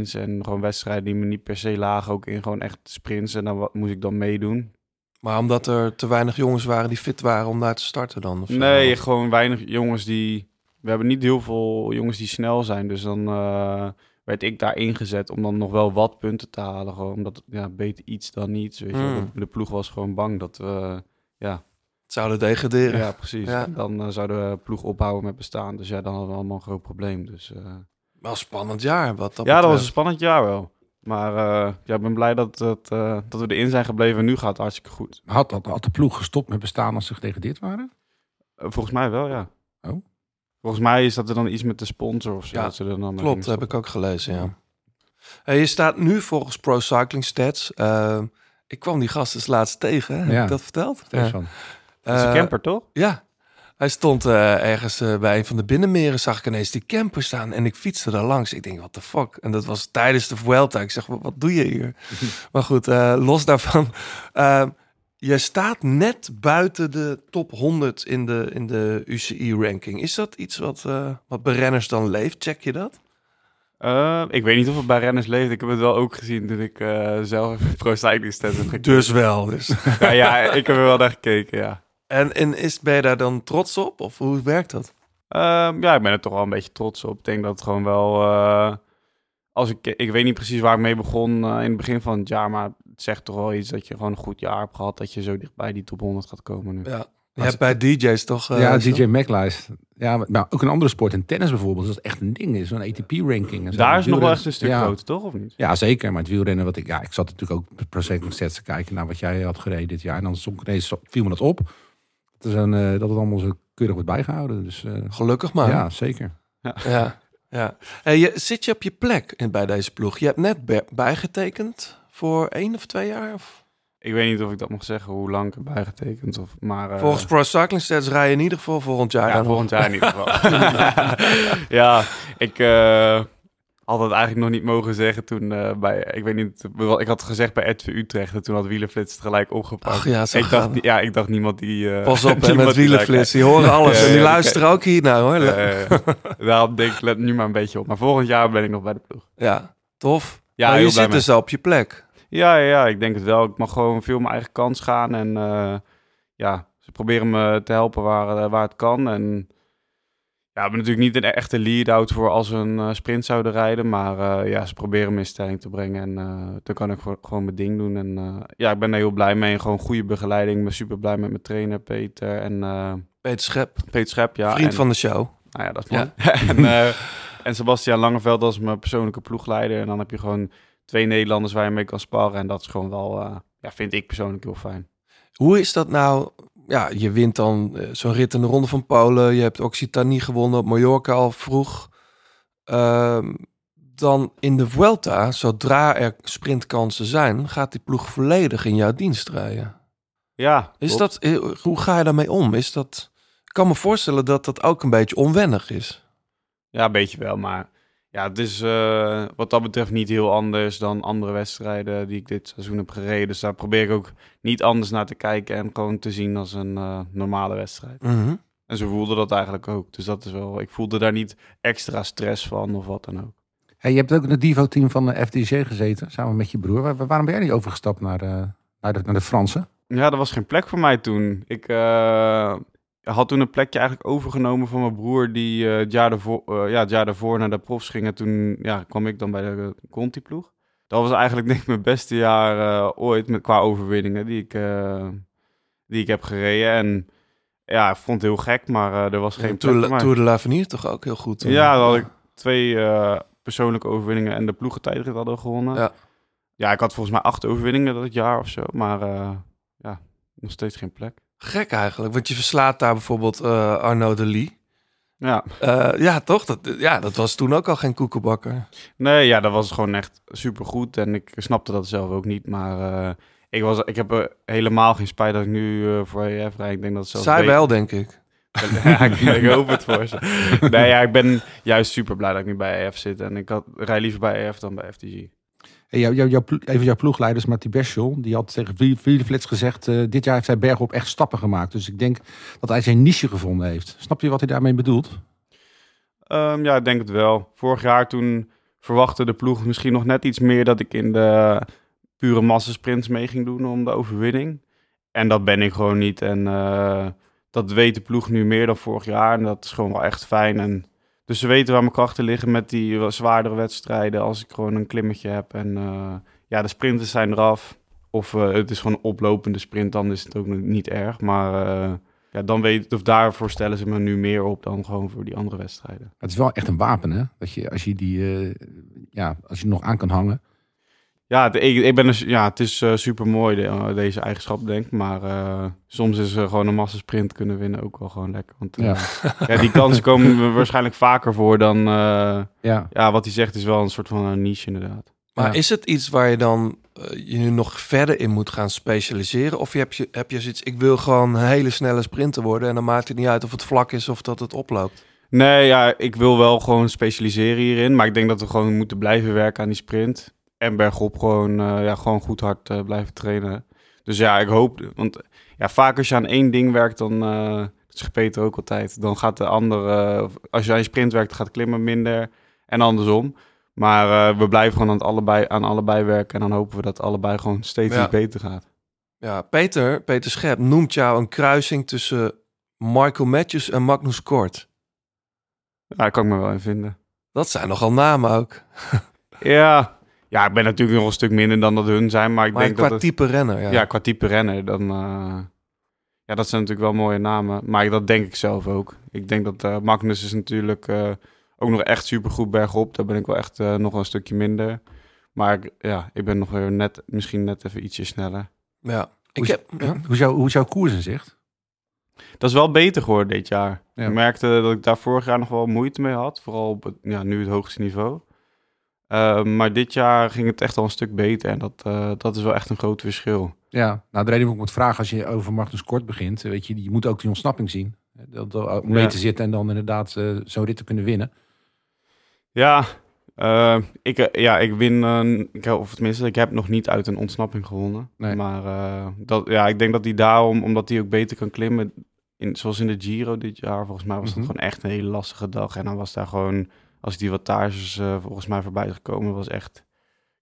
S9: 1.1's. En gewoon wedstrijden die me niet per se lagen. Ook in gewoon echt sprints. En dan wat moest ik dan meedoen.
S3: Maar omdat er te weinig jongens waren die fit waren om daar te starten dan? Of zo?
S9: Nee, gewoon weinig jongens die... We hebben niet heel veel jongens die snel zijn. Dus dan eh, werd ik daar ingezet om dan nog wel wat punten te halen. Gewoon omdat, ja, beter iets dan niets. Weet je. wel.
S3: Mm.
S9: De, de ploeg was gewoon bang dat eh, we...
S3: Het zouden degraderen.
S9: Ja, precies.
S3: Ja.
S9: En Dan eh, zou de ploeg ophouden met bestaan. Dus ja, dan hadden we allemaal een groot probleem. Dus, eh,
S3: Wel spannend jaar. Wat dat
S9: ja, dat was een
S3: betreft.
S9: spannend jaar wel. Maar eh, ja, ik ben blij dat, dat, eh, dat we erin zijn gebleven. En nu gaat het hartstikke goed.
S10: Had, dat had de ploeg gestopt met bestaan als ze gedegradeerd waren?
S9: Eh, volgens mij wel, ja.
S10: Oh.
S9: Volgens mij is dat er dan iets met de sponsor of zo.
S3: Ja,
S9: dat ze er dan mee
S3: Klopt,
S9: gingen
S3: heb ik ook gelezen, ja. Hey, je staat nu volgens Pro Cycling Stats. eh, ik kwam die gast dus laatst tegen. hè? Heb
S10: Ja.
S3: ik dat verteld?
S10: Steeds
S3: Ja.
S10: van.
S9: stoppen. Dat is een
S3: Eh,
S9: camper, toch?
S3: Ja. Hij stond eh, ergens eh, bij een van de binnenmeren, zag ik ineens die camper staan en ik fietste daar langs. Ik denk, wat the fuck? En dat was tijdens de Vuelta. Ik zeg, wat, wat doe je hier? maar goed, eh, los daarvan. eh, jij staat net buiten de top 100 in de, in de UCI-ranking. Is dat iets wat, eh, wat bij renners dan leeft? Check je dat?
S9: Eh, ik weet niet of het bij renners leeft. Ik heb het wel ook gezien toen ik eh, zelf even pro cycling stats heb gekeken.
S3: Dus wel. Dus.
S9: ja, ja, ik heb er wel naar gekeken, ja.
S3: en en is, ben je daar dan trots op? Of hoe werkt dat?
S9: Ehm, ja, ik ben er toch wel een beetje trots op. Ik denk dat het gewoon wel. eh, als ik, ik weet niet precies waar ik mee begon eh, in het begin van het jaar. Maar het zegt toch wel iets dat je gewoon een goed jaar hebt gehad. Dat je zo dichtbij die top 100 gaat komen nu.
S3: Ja. Je hebt bij DJ's toch? eh,
S10: ja,
S3: zo-
S10: DJ McLeist. Ja, maar- maar ook een andere sport, in tennis bijvoorbeeld, dat is echt een ding. is Zo'n ATP-ranking. en zo.
S9: Dus Daar is nog wel
S10: Wielrennen-
S9: echt een stuk
S10: ja.
S9: groter, toch? Of niet?
S10: Ja, zeker. Maar het wielrennen, wat ik, ja, ik zat natuurlijk ook per se nog steeds te kijken naar wat jij had gereden dit jaar. En dan stond ik ineens, viel me dat op. Dat, is een, eh, dat het allemaal zo keurig wordt bijgehouden. Dus eh,
S3: Gelukkig maar.
S10: ja, zeker.
S3: Ja, ja. Hey, je, zit je op je plek in, bij deze ploeg? Je hebt net be- bijgetekend voor één of twee jaar? Of?
S9: Ik weet niet of ik dat mag zeggen, hoe lang ik heb bijgetekend. Of, maar, eh,
S3: Volgens Pro Cycling Stats rij je in ieder geval volgend jaar.
S9: ja,
S3: dan
S9: volgend jaar in ieder geval. ja, ik eh, had het eigenlijk nog niet mogen zeggen toen eh, bij, ik weet niet, ik had het gezegd bij RTV Utrecht en toen had Wielenflits het gelijk opgepakt.
S3: Ach ja, zo
S9: ik
S3: gaan
S9: dacht,
S3: we.
S9: ni- ja, ik dacht niemand die... eh,
S3: Pas op, hè,
S9: niemand
S3: met
S9: die
S3: wielenflits.
S9: lijkt-
S3: Die horen alles
S9: Ja,
S3: en die
S9: ja,
S3: luisteren ook hier nou, hoor.
S9: Ja, ja, ja. Daarom denk ik, let nu maar een beetje op. Maar volgend jaar ben ik nog bij de ploeg.
S3: Ja, tof.
S9: Ja,
S3: maar
S9: heel
S3: je
S9: blij
S3: zit
S9: mee.
S3: dus al op je plek.
S9: Ja, ja, ja, ik denk het wel. Ik mag gewoon veel mijn eigen kans gaan. En eh, ja, ze proberen me te helpen waar, eh, waar het kan. En ja, ik ben natuurlijk niet een e-, echte lead-out voor als we een eh, sprint zouden rijden. Maar eh, ja, ze proberen me in stelling te brengen. En eh dan kan ik gewoon- gewoon mijn ding doen. En eh, ja, ik ben daar heel blij mee. En gewoon goede begeleiding. Ik ben super blij met mijn trainer Peter en eh,
S3: Peter Schep,
S9: Peter Schep. Ja,
S3: vriend
S9: en-
S3: van de show.
S9: nou ja, dat is mooi. en, eh, en Sebastian Langeveld als mijn persoonlijke ploegleider. En dan heb je gewoon twee Nederlanders waar je mee kan sparren. En dat is gewoon wel, eh, ja, vind ik persoonlijk heel fijn.
S3: Hoe is dat nou? Ja, je wint dan eh, zo'n rit in de Ronde van Polen. Je hebt Occitanie gewonnen op Mallorca al vroeg. Ehm, dan in de Vuelta, zodra er sprintkansen zijn, gaat die ploeg volledig in jouw dienst rijden.
S9: Ja,
S3: Is
S9: klopt.
S3: dat, eh, hoe ga je daarmee om? Is dat, ik kan me voorstellen dat dat ook een beetje onwennig is.
S9: Ja, een beetje wel. Maar ja, het is eh, wat dat betreft niet heel anders dan andere wedstrijden die ik dit seizoen heb gereden. Dus daar probeer ik ook niet anders naar te kijken en gewoon te zien als een eh, normale wedstrijd.
S3: Mhm.
S9: En ze voelden dat eigenlijk ook. Dus dat is wel, ik voelde daar niet extra stress van of wat dan ook.
S10: Hey, je hebt ook in het Divo-team van de FDC gezeten, samen met je broer. Waar- waar- waarom ben jij niet overgestapt naar, eh, naar, de, naar de Fransen?
S9: Ja, er was geen plek voor mij toen. Ik eh, had toen een plekje eigenlijk overgenomen van mijn broer, die eh, het, jaar daarvoor, eh, ja, het jaar daarvoor naar de profs ging. En toen ja, kwam ik dan bij de eh, Conti-ploeg. Dat was eigenlijk denk ik mijn beste jaar eh, ooit met, qua overwinningen die ik, eh, die ik heb gereden. En ja, ik vond het heel gek, maar eh, er was geen plek
S3: Tour,
S9: voor mij.
S3: Tour de L'Avenir toch ook heel goed. hè?
S9: Ja, dan had ik twee eh, persoonlijke overwinningen en de ploegentijdrit hadden we gewonnen.
S3: Ja.
S9: ja, ik had volgens mij acht overwinningen dat jaar of zo, maar eh, ja, nog steeds geen plek.
S3: Gek eigenlijk, want je verslaat daar bijvoorbeeld eh, Arnaud de Lee.
S9: Ja,
S3: Eh, ja, toch? Dat, ja, dat was toen ook al geen koekenbakker.
S9: nee, ja, dat was gewoon echt supergoed. En ik snapte dat zelf ook niet. Maar eh, ik, was, ik heb er helemaal geen spijt dat ik nu eh, voor EF rijd. Ik denk dat het zelfs
S3: Zij
S9: beter-
S3: wel, denk ik.
S9: Ja, ik, ik hoop het voor ze. Nee, ja, ik ben juist super blij dat ik nu bij EF zit. En ik had, rij liever bij EF dan bij FTG.
S10: Hey, jou, jou, jouw plo- een van jouw ploegleiders, Marty Beschel, die had tegen Wiel- Wielenflits gezegd... eh, dit jaar heeft hij bergop echt stappen gemaakt. Dus ik denk dat hij zijn niche gevonden heeft. Snap je wat hij daarmee bedoelt?
S9: Ehm, ja, ik denk het wel. Vorig jaar toen verwachtte de ploeg misschien nog net iets meer dat ik in de pure massasprints mee ging doen om de overwinning. En dat ben ik gewoon niet. En eh, dat weet de ploeg nu meer dan vorig jaar. En dat is gewoon wel echt fijn. En dus ze weten waar mijn krachten liggen met die wat zwaardere wedstrijden. Als ik gewoon een klimmetje heb. En eh, ja, de sprinters zijn eraf. Of eh, het is gewoon een oplopende sprint. Dan is het ook niet erg. Maar eh, ja, dan weet, of daarvoor stellen ze me nu meer op dan gewoon voor die andere wedstrijden.
S10: Het is wel echt een wapen, hè? Dat je, als je die, eh, ja, als je nog aan kan hangen.
S9: Ja, het- ik, ik ben een, ja, het is eh, super mooi deze eigenschap, denk ik. Maar eh, soms is eh, gewoon een massasprint kunnen winnen ook wel gewoon lekker. Want eh, ja. die kansen komen we waarschijnlijk vaker voor dan... eh,
S10: Ja.
S9: ja, wat hij zegt is wel een soort van een niche inderdaad.
S3: Maar
S10: Ja.
S3: is het iets waar je dan eh, je nu nog verder in moet gaan specialiseren? Of je heb, je, heb je zoiets, ik wil gewoon een hele snelle sprinter worden... en dan maakt het niet uit of het vlak is of dat het oploopt.
S9: Nee, ja, ik wil wel gewoon specialiseren hierin. Maar ik denk dat we gewoon moeten blijven werken aan die sprint. En bergop gewoon, eh, ja, gewoon goed hard eh, blijven trainen. Dus ja, ik hoop... Want ja, vaak als je aan één ding werkt, dan... eh, dat zegt Peter ook altijd. Dan gaat de andere... eh, als je aan je sprint werkt, gaat klimmen minder. En andersom. Maar eh, we blijven gewoon aan, het allebei, aan allebei werken. En dan hopen we dat allebei gewoon steeds
S3: Ja.
S9: iets beter gaat.
S3: Ja, Peter, Peter Schep noemt jou een kruising tussen Michael Matthews en Magnus Kort.
S9: Ja, Daar kan ik me wel in vinden.
S3: Dat zijn nogal namen ook.
S9: Ja, ja ik ben natuurlijk nog een stuk minder dan dat hun zijn. Maar ik
S3: Maar
S9: denk
S3: qua
S9: dat... het-
S3: type renner, ja.
S9: Ja, qua type renner, dan... eh, ja, dat zijn natuurlijk wel mooie namen. Maar dat denk ik zelf ook. Ik denk dat eh, Magnus is natuurlijk eh, ook nog echt supergoed bergop. Daar ben ik wel echt eh, nog een stukje minder. Maar ik- ja, ik ben nog weer net, misschien net even ietsje sneller.
S3: Ja. Ik
S10: Hoe is-
S3: heb, ja.
S10: Hoe, is jouw, hoe is jouw koers in zicht?
S9: Dat is wel beter geworden dit jaar.
S10: Ja.
S9: Ik merkte dat ik daar vorig jaar nog wel moeite mee had. Vooral op het, ja, nu het hoogste niveau. Eh, maar dit jaar ging het echt al een stuk beter. En dat, eh, dat is wel echt een groot verschil.
S10: Ja, nou de reden waarom ik moet vragen als je over Magnus Kort begint, weet je, je moet ook die ontsnapping zien. Dat, dat- om mee
S9: Ja.
S10: te zitten en dan inderdaad eh, zo'n rit te kunnen winnen.
S9: Ja, eh, Eh, ik, eh, ja, ik win, eh, ik heb- of tenminste, ik heb nog niet uit een ontsnapping gewonnen.
S4: Nee.
S9: Maar eh, dat, ja, ik denk dat hij daarom, omdat hij ook beter kan klimmen, in, zoals in de Giro dit jaar, volgens mij was dat
S4: Mhm.
S9: gewoon echt een hele lastige dag. En dan was daar gewoon, als die wattages eh, volgens mij voorbij is gekomen, was echt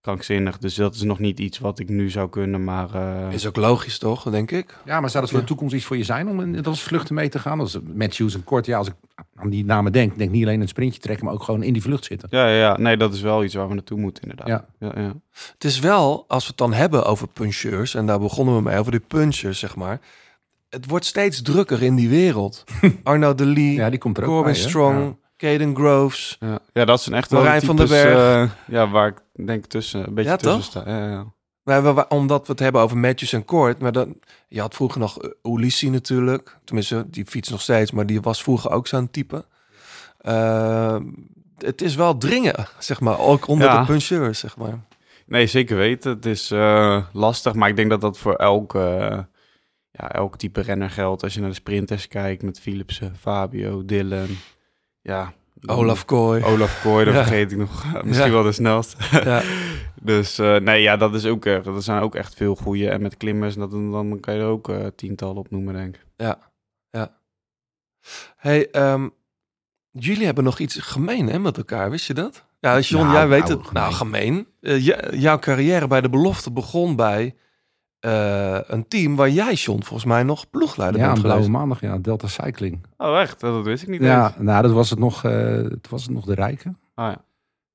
S9: krankzinnig. Dus dat is nog niet iets wat ik nu zou kunnen, maar... eh,
S3: Is ook logisch, toch? Denk ik.
S10: Ja, maar zou dat voor de toekomst iets voor je zijn om in, dat als vluchten mee te gaan? Als Matthews en Kort, ja, als ik aan die namen denk, denk ik niet alleen een sprintje trekken, maar ook gewoon in die vlucht zitten.
S9: Ja, ja, ja, nee, dat is wel iets waar we naartoe moeten, inderdaad.
S10: Ja.
S9: Ja, ja.
S3: Het is wel, als we het dan hebben over puncheurs, en daar begonnen we mee, over die punchers, zeg maar. Het wordt steeds drukker in die wereld. Arno de Lee,
S10: Ja, die komt er ook
S3: Corbin
S10: bij, hè?
S3: Strong,
S10: Ja.
S3: Caden Groves.
S9: Ja. ja, dat is een echte
S3: Marijn van den
S9: types,
S3: Berg.
S9: eh, ja, waar ik denk tussen, een beetje
S3: Ja,
S9: tussen
S3: toch?
S9: sta. Ja, ja, ja.
S3: Nou, we- we- omdat we het hebben over Matthews en Kort. Maar dan, je had vroeger nog eh, Ulissi natuurlijk. Tenminste, die fiets nog steeds, maar die was vroeger ook zo'n type. Eh, het is wel dringen, zeg maar. Ook onder
S9: Ja.
S3: de puncheurs, zeg maar.
S9: Nee, zeker weten. Het is eh, lastig, maar ik denk dat dat voor elk, eh, ja, elk type renner geldt. Als je naar de sprinters kijkt met Philipsen, Fabio, Dylan, ja.
S3: Olaf Kooi.
S9: Olaf Kooi, dat
S3: Ja.
S9: vergeet ik nog. Misschien
S3: Ja.
S9: wel de snelste.
S3: Ja.
S9: Dus eh, nee, ja, dat is ook erg. Er zijn ook echt veel goede. En met klimmers, dat, dan kan je er ook eh, tientallen op noemen, denk ik.
S3: Hey, ehm, jullie hebben nog iets gemeen hè, met elkaar, wist je dat? Ja, John,
S10: Nou,
S3: jij weet
S10: nou,
S3: het. Nou, gemeen. Eh, j- jouw carrière bij de belofte begon bij eh, een team waar jij, John, volgens mij nog ploegleider
S10: Ja,
S3: bent
S10: een blauwe
S3: geweest.
S10: maandag, ja, Delta Cycling.
S9: Oh, echt? Dat wist ik niet
S10: Ja, nou, dat was het nog, eh, toen was het nog de Rijken.
S9: Ah, ja.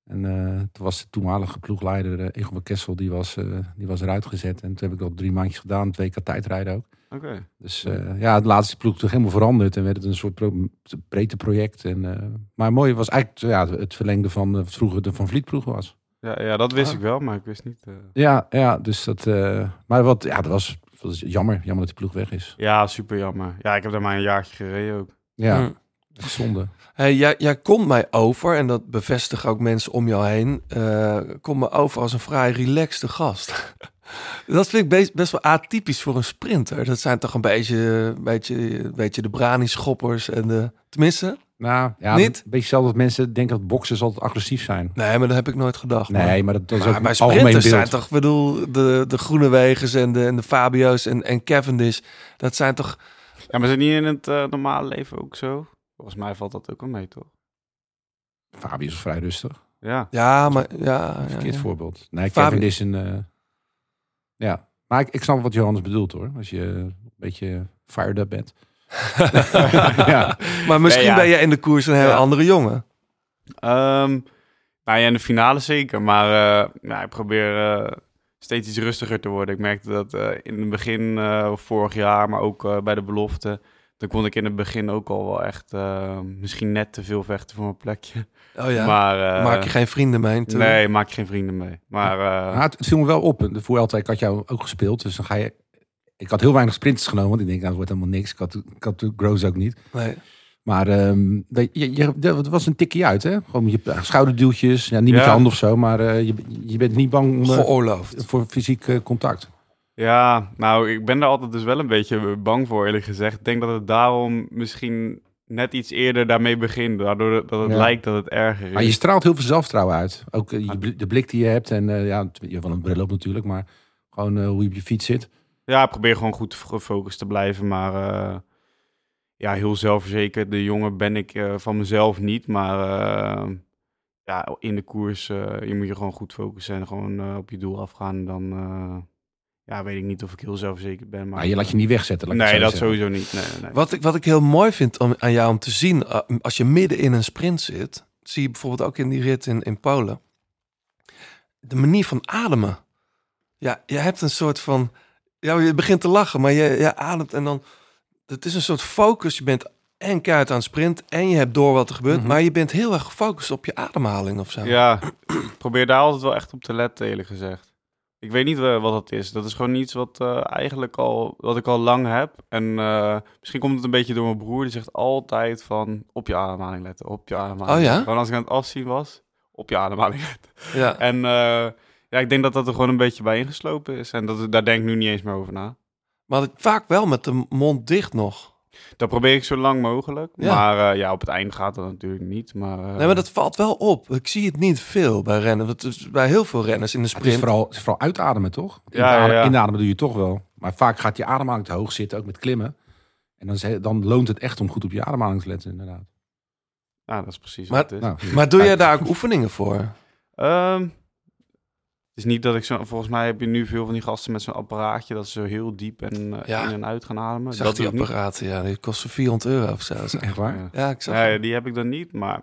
S10: En eh, toen was de toenmalige ploegleider eh, Egon van Kessel, die was, eh, die was eruit gezet. En toen heb ik dat drie maandjes gedaan, twee keer tijdrijden ook.
S9: Oké.
S10: Dus eh, ja, het laatste ploeg toch helemaal veranderd en werd het een soort pro breedte project. En, eh, maar mooi was eigenlijk ja, het verlengde van eh, wat vroeger de Van Vliet ploeg was.
S9: Ja, ja, dat
S3: Ah.
S9: wist ik wel, maar ik wist niet... eh,
S10: Ja, ja dus dat. eh, maar wat, ja, dat was, dat is jammer, jammer dat die ploeg weg is.
S9: Ja, super jammer. Ja, ik heb daar maar een jaartje gereden ook.
S10: Ja,
S3: Hm.
S10: echt zonde.
S3: Hey, jij, jij komt mij over, en dat bevestigen ook mensen om jou heen, eh komt me over als een vrij relaxte gast. dat vind ik best, best wel atypisch voor een sprinter. Dat zijn toch een beetje, beetje, beetje de brani-schoppers en de... Tenminste,
S10: Nou, ja,
S3: Niet?
S10: Een beetje hetzelfde dat mensen denken dat boxers altijd agressief zijn.
S3: nee, maar dat heb ik nooit gedacht. man.
S10: Nee, maar dat, dat is
S3: Maar,
S10: ook
S3: maar
S10: een algemeen beeld.
S3: sprinters zijn toch, ik bedoel, de, de Groenewegens en de, en de Fabio's en, en Cavendish. Dat zijn toch,
S9: Ja, maar zijn die in het eh, normale leven ook zo? Volgens mij valt dat ook wel mee, toch?
S10: Fabio is vrij rustig.
S9: Ja.
S3: ja, maar ja. ja,
S10: Verkeerd
S3: ja.
S10: voorbeeld. Nee,
S3: Fabio-
S10: Kevin is een... eh, ja, maar ik, ik snap wat Johannes bedoelt hoor. Als je een beetje fired up bent. ja.
S3: Maar misschien
S9: Nee, ja.
S3: ben je in de koers een hele
S9: Ja.
S3: andere jongen.
S9: Ehm, nou ja, in de finale zeker. Maar eh, nou, ik probeer eh, steeds iets rustiger te worden. Ik merkte dat eh, in het begin eh, vorig jaar, maar ook eh, bij de belofte... Dan kon ik in het begin ook al wel echt eh, misschien net te veel vechten voor mijn plekje.
S3: Oh ja,
S9: Maar, eh,
S3: maak je geen vrienden mee natuurlijk.
S9: Nee, maak je geen vrienden mee. Maar eh,
S10: Maar het het viel me wel op. De Vuelta, ik had jou ook gespeeld. Dus dan ga je... Ik had heel weinig sprinters genomen. Want ik denk, nou, dat wordt helemaal niks. Ik had, ik had de Groves ook niet.
S3: Nee.
S10: Maar ehm, weet je, je, dat was een tikje uit, hè? Gewoon je schouderduwtjes. Ja, niet met
S9: Ja.
S10: je hand of zo. Maar eh, je, je bent niet bang om, eh,
S3: Geoorloofd.
S10: voor fysiek eh, contact.
S9: Ja, nou, ik ben daar altijd dus wel een beetje bang voor, eerlijk gezegd. Ik denk dat het daarom misschien net iets eerder daarmee begint. Daardoor dat het
S10: Ja.
S9: lijkt dat het erger is.
S10: Maar je straalt heel veel zelfvertrouwen uit. Ook eh,
S9: Ah.
S10: je bl- de blik die je hebt. En eh, ja, je hebt wel een bril op natuurlijk. Maar gewoon eh, hoe je op je fiets zit.
S9: Ja, probeer gewoon goed gefocust te blijven. Maar eh, ja, heel zelfverzekerd. De jongen ben ik eh, van mezelf niet. Maar eh, ja, in de koers eh, je moet je gewoon goed focussen en gewoon eh, op je doel afgaan. Dan eh, ja, weet ik niet of ik heel zelfverzekerd ben. Maar, eh,
S10: Maar Nou, je laat je niet wegzetten. laat ik
S9: Nee,
S10: het zo
S9: dat
S10: zeggen.
S9: sowieso niet. Nee, nee, nee.
S3: Wat ik, wat ik heel mooi vind om, aan jou om te zien, eh, als je midden in een sprint zit, zie je bijvoorbeeld ook in die rit in, in Polen, de manier van ademen. Ja, je hebt een soort van, ja, je begint te lachen, maar je, je ademt en dan, het is een soort focus. Je bent en keihard aan het sprint en je hebt door wat er gebeurt, maar je bent heel erg gefocust op je ademhaling of zo.
S9: Ja, ik probeer daar altijd wel echt op te letten, eerlijk gezegd. Ik weet niet eh, wat dat is. Dat is gewoon iets wat eh, eigenlijk al, wat ik al lang heb. En eh, misschien komt het een beetje door mijn broer. Die zegt altijd van op je ademhaling letten, op je ademhaling.
S3: Oh ja?
S9: Gewoon als ik aan het afzien was, op je ademhaling letten.
S3: Ja.
S9: En eh, ja, ik denk dat dat er gewoon een beetje bij ingeslopen is. En dat, daar denk ik nu niet eens meer over na.
S3: Maar vaak wel met de mond dicht nog.
S9: Dat probeer ik zo lang mogelijk.
S3: Ja.
S9: Maar eh, ja, op het eind gaat dat natuurlijk niet. Maar, eh,
S3: Nee, maar dat valt wel op. Ik zie het niet veel bij rennen. Dat is bij heel veel renners in de
S10: Het is
S3: sprint.
S10: vooral, het is vooral uitademen, toch? Want
S9: Ja, ja,
S10: inademen,
S9: ja.
S10: inademen doe je toch wel. Maar vaak gaat je ademhaling te hoog zitten, ook met klimmen. En dan, is- dan loont het echt om goed op je ademhaling te letten, inderdaad.
S9: ja, dat is precies
S3: Maar-
S9: wat het is.
S10: Nou,
S3: Maar doe jij daar ook oefeningen voor?
S9: Ehm, het is niet dat ik zo... Volgens mij heb je nu veel van die gasten met zo'n apparaatje... dat ze zo heel diep en eh,
S3: Ja.
S9: in en uit gaan ademen.
S3: Ik zag
S9: dat
S3: die
S9: doe ik niet.
S3: apparaten, ja, die kosten 400 euro of zo.
S10: Echt waar?
S9: Ja.
S3: Ja, ik zag
S9: Nee,
S3: het.
S9: die heb ik dan niet, maar...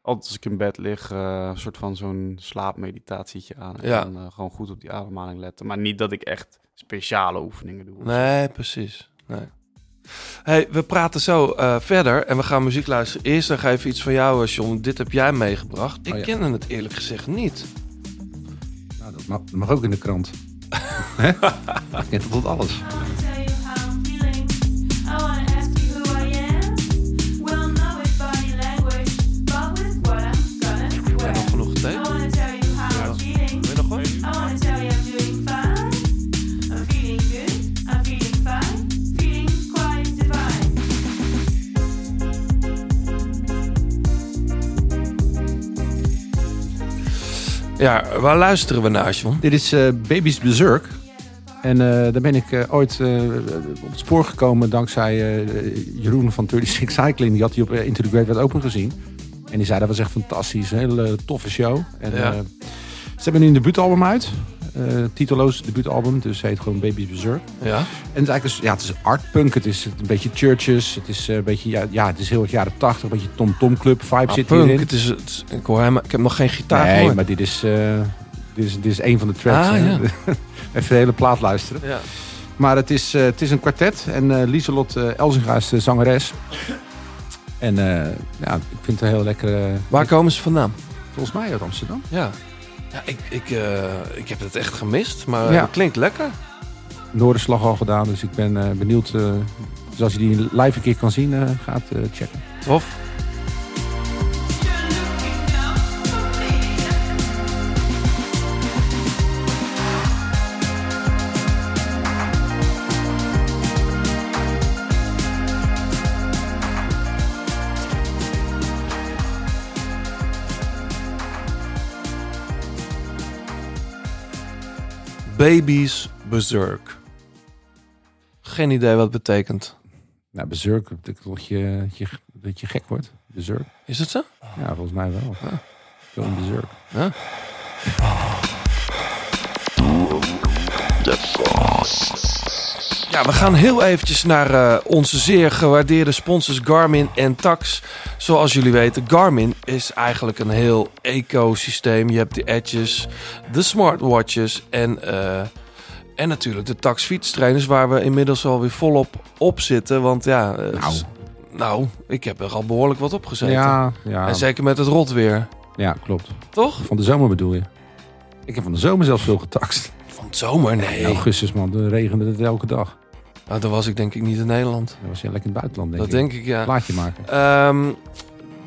S9: Altijd als ik in bed lig, eh, een soort van zo'n slaapmeditatietje aan. En
S3: Ja.
S9: dan eh, gewoon goed op die ademhaling letten. Maar niet dat ik echt speciale oefeningen doe.
S3: Nee, precies. Nee. Hey, we praten zo eh, verder en we gaan muziek luisteren. Eerst nog even iets van jou, eh, John. Dit heb jij meegebracht. Ik
S10: Oh, ja.
S3: ken het eerlijk gezegd niet.
S10: Nou, dat mag, dat mag ook in de krant. Hè? Net tot alles.
S3: Heb nog genoeg getekend? Wil je nog wat? Ja, waar luisteren we naar, John?
S10: Dit is eh Baby's Berserk. En eh, daar ben ik eh, ooit eh, op het spoor gekomen dankzij eh, Jeroen van 36 Cycling. Die had die op eh, Into the Great Wide Open gezien. En die zei dat was echt fantastisch. Een hele eh, toffe show. En,
S3: Ja.
S10: eh, ze hebben nu een debuutalbum uit. Eh titeloos debuutalbum. Dus het heet gewoon Baby's Berserk.
S3: Ja?
S10: En het is eigenlijk een- ja, het is artpunk, het is een beetje churches, het is eh, een beetje, ja, ja, het is heel erg jaren 80, een beetje Tom Tom Club vibe
S3: Ah,
S10: zit
S3: punk,
S10: hierin.
S3: het is, het is- ik, hoor helemaal, ik heb nog geen gitaar
S10: nee,
S3: gehoord.
S10: maar dit is, eh, dit is, dit is een van de tracks.
S3: Ah,
S10: hè.
S3: ja.
S10: Even de hele plaat luisteren.
S3: Ja.
S10: Maar het is, eh, het is een kwartet en eh Lieselot eh, Elzinga is de zangeres. En eh, ja, ik vind het een heel lekkere,
S3: Waar komen ze vandaan?
S10: volgens mij uit Amsterdam.
S3: Ja. Ja, ik, ik, eh, ik heb het echt gemist, maar eh,
S10: Ja.
S3: het klinkt lekker.
S10: Noorderslag al gedaan, dus ik ben eh, benieuwd. eh, dus als je die live een keer kan zien, eh, gaat eh, checken.
S3: Tof. Baby's Berserk. Geen idee wat het betekent.
S10: Nou, bezurk, dat je, dat je, dat je gek wordt. Bezurk.
S3: Is het zo?
S10: Ja, volgens mij wel.
S3: Ah.
S10: Ja. Film bezurk.
S3: Ja, we gaan heel eventjes naar eh, onze zeer gewaardeerde sponsors Garmin en Tax. Zoals jullie weten, Garmin is eigenlijk een heel ecosysteem. Je hebt de Edges, de smartwatches en, eh, en natuurlijk de Tax fietstrainers... waar we inmiddels alweer volop op zitten. Want ja, eh,
S10: Nou.
S3: s- nou ik heb er al behoorlijk wat op gezeten.
S10: Ja, ja,
S3: En zeker met het rotweer,
S10: ja, klopt.
S3: toch?
S10: Van de zomer bedoel je? Ik heb van de zomer zelfs veel getaxt.
S3: Van het zomer,
S10: In
S3: nee.
S10: augustus, man, dan regende het elke dag.
S3: Nou, dan was ik denk ik niet in Nederland.
S10: Dan was je lekker in het buitenland, denk
S3: Dat
S10: ik.
S3: denk ik, ja.
S10: Plaatje maken.
S3: Ehm,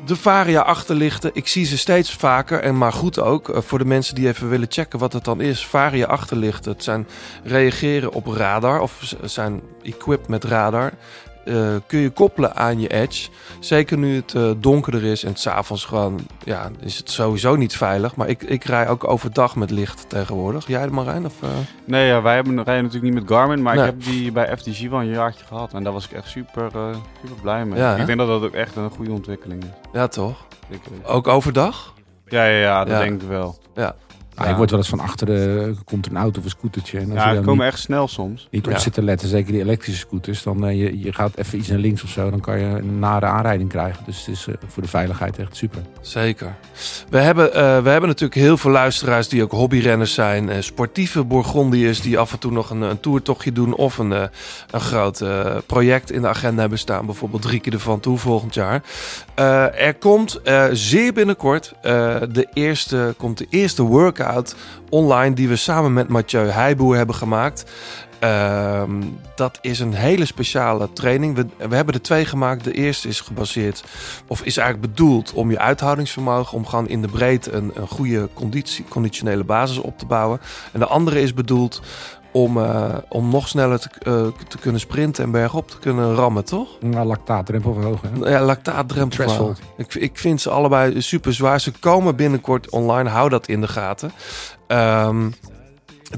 S3: de Varia achterlichten, ik zie ze steeds vaker. En maar goed ook, eh, voor de mensen die even willen checken wat het dan is. Varia achterlichten, het zijn reageren op radar of z- zijn equipped met radar. Eh, kun je koppelen aan je edge. Zeker nu het eh, donkerder is en s'avonds gewoon, ja, is het sowieso niet veilig. Maar ik, ik rij ook overdag met licht tegenwoordig. Jij Marijn? Of, eh?
S9: Nee, ja, wij hebben, rijden natuurlijk niet met Garmin, maar
S3: Nee.
S9: ik heb die bij FTG wel een jaartje gehad. En daar was ik echt super, eh, super blij mee.
S3: Ja, hè?
S9: ik denk dat dat ook echt een goede ontwikkeling is.
S3: Ja, toch?
S9: Ik, eh,
S3: Ook overdag?
S9: ja, ja, ja, dat
S3: Ja.
S9: denk ik wel.
S10: Ah, je wordt wel eens van achteren, eh, komt er een auto of een scootertje. En als
S9: Ja,
S10: je
S9: die
S10: daar
S9: komen
S10: niet,
S9: echt snel soms.
S10: niet op
S3: Ja.
S10: zit te letten, zeker die elektrische scooters, dan eh, je, je gaat even iets naar links of zo, dan kan je een nare aanrijding krijgen. Dus het is eh, voor de veiligheid echt super.
S3: Zeker. We hebben, eh, we hebben natuurlijk heel veel luisteraars die ook hobbyrenners zijn. eh, sportieve Bourgondiërs die af en toe nog een, een toertochtje doen. Of een, eh, een groot eh, project in de agenda hebben staan. Bijvoorbeeld drie keer ervan toe volgend jaar. Eh, er komt eh, zeer binnenkort eh, de, eerste, komt de eerste workout online die we samen met Mathieu Heijboer hebben gemaakt. Ehm, dat is een hele speciale training. We, we hebben er twee gemaakt. De eerste is gebaseerd, of is eigenlijk bedoeld om je uithoudingsvermogen, om gewoon in de breedte een, een goede conditie, conditionele basis op te bouwen. En de andere is bedoeld om, eh, om nog sneller te, eh, te kunnen sprinten en bergop te kunnen rammen, toch?
S10: Nou, lactaatdrempel verhogen. hè?
S3: Ja, lactaatdrempel.
S10: Threshold.
S3: Ik, ik vind ze allebei super zwaar. Ze komen binnenkort online. Hou dat in de gaten. Ehm,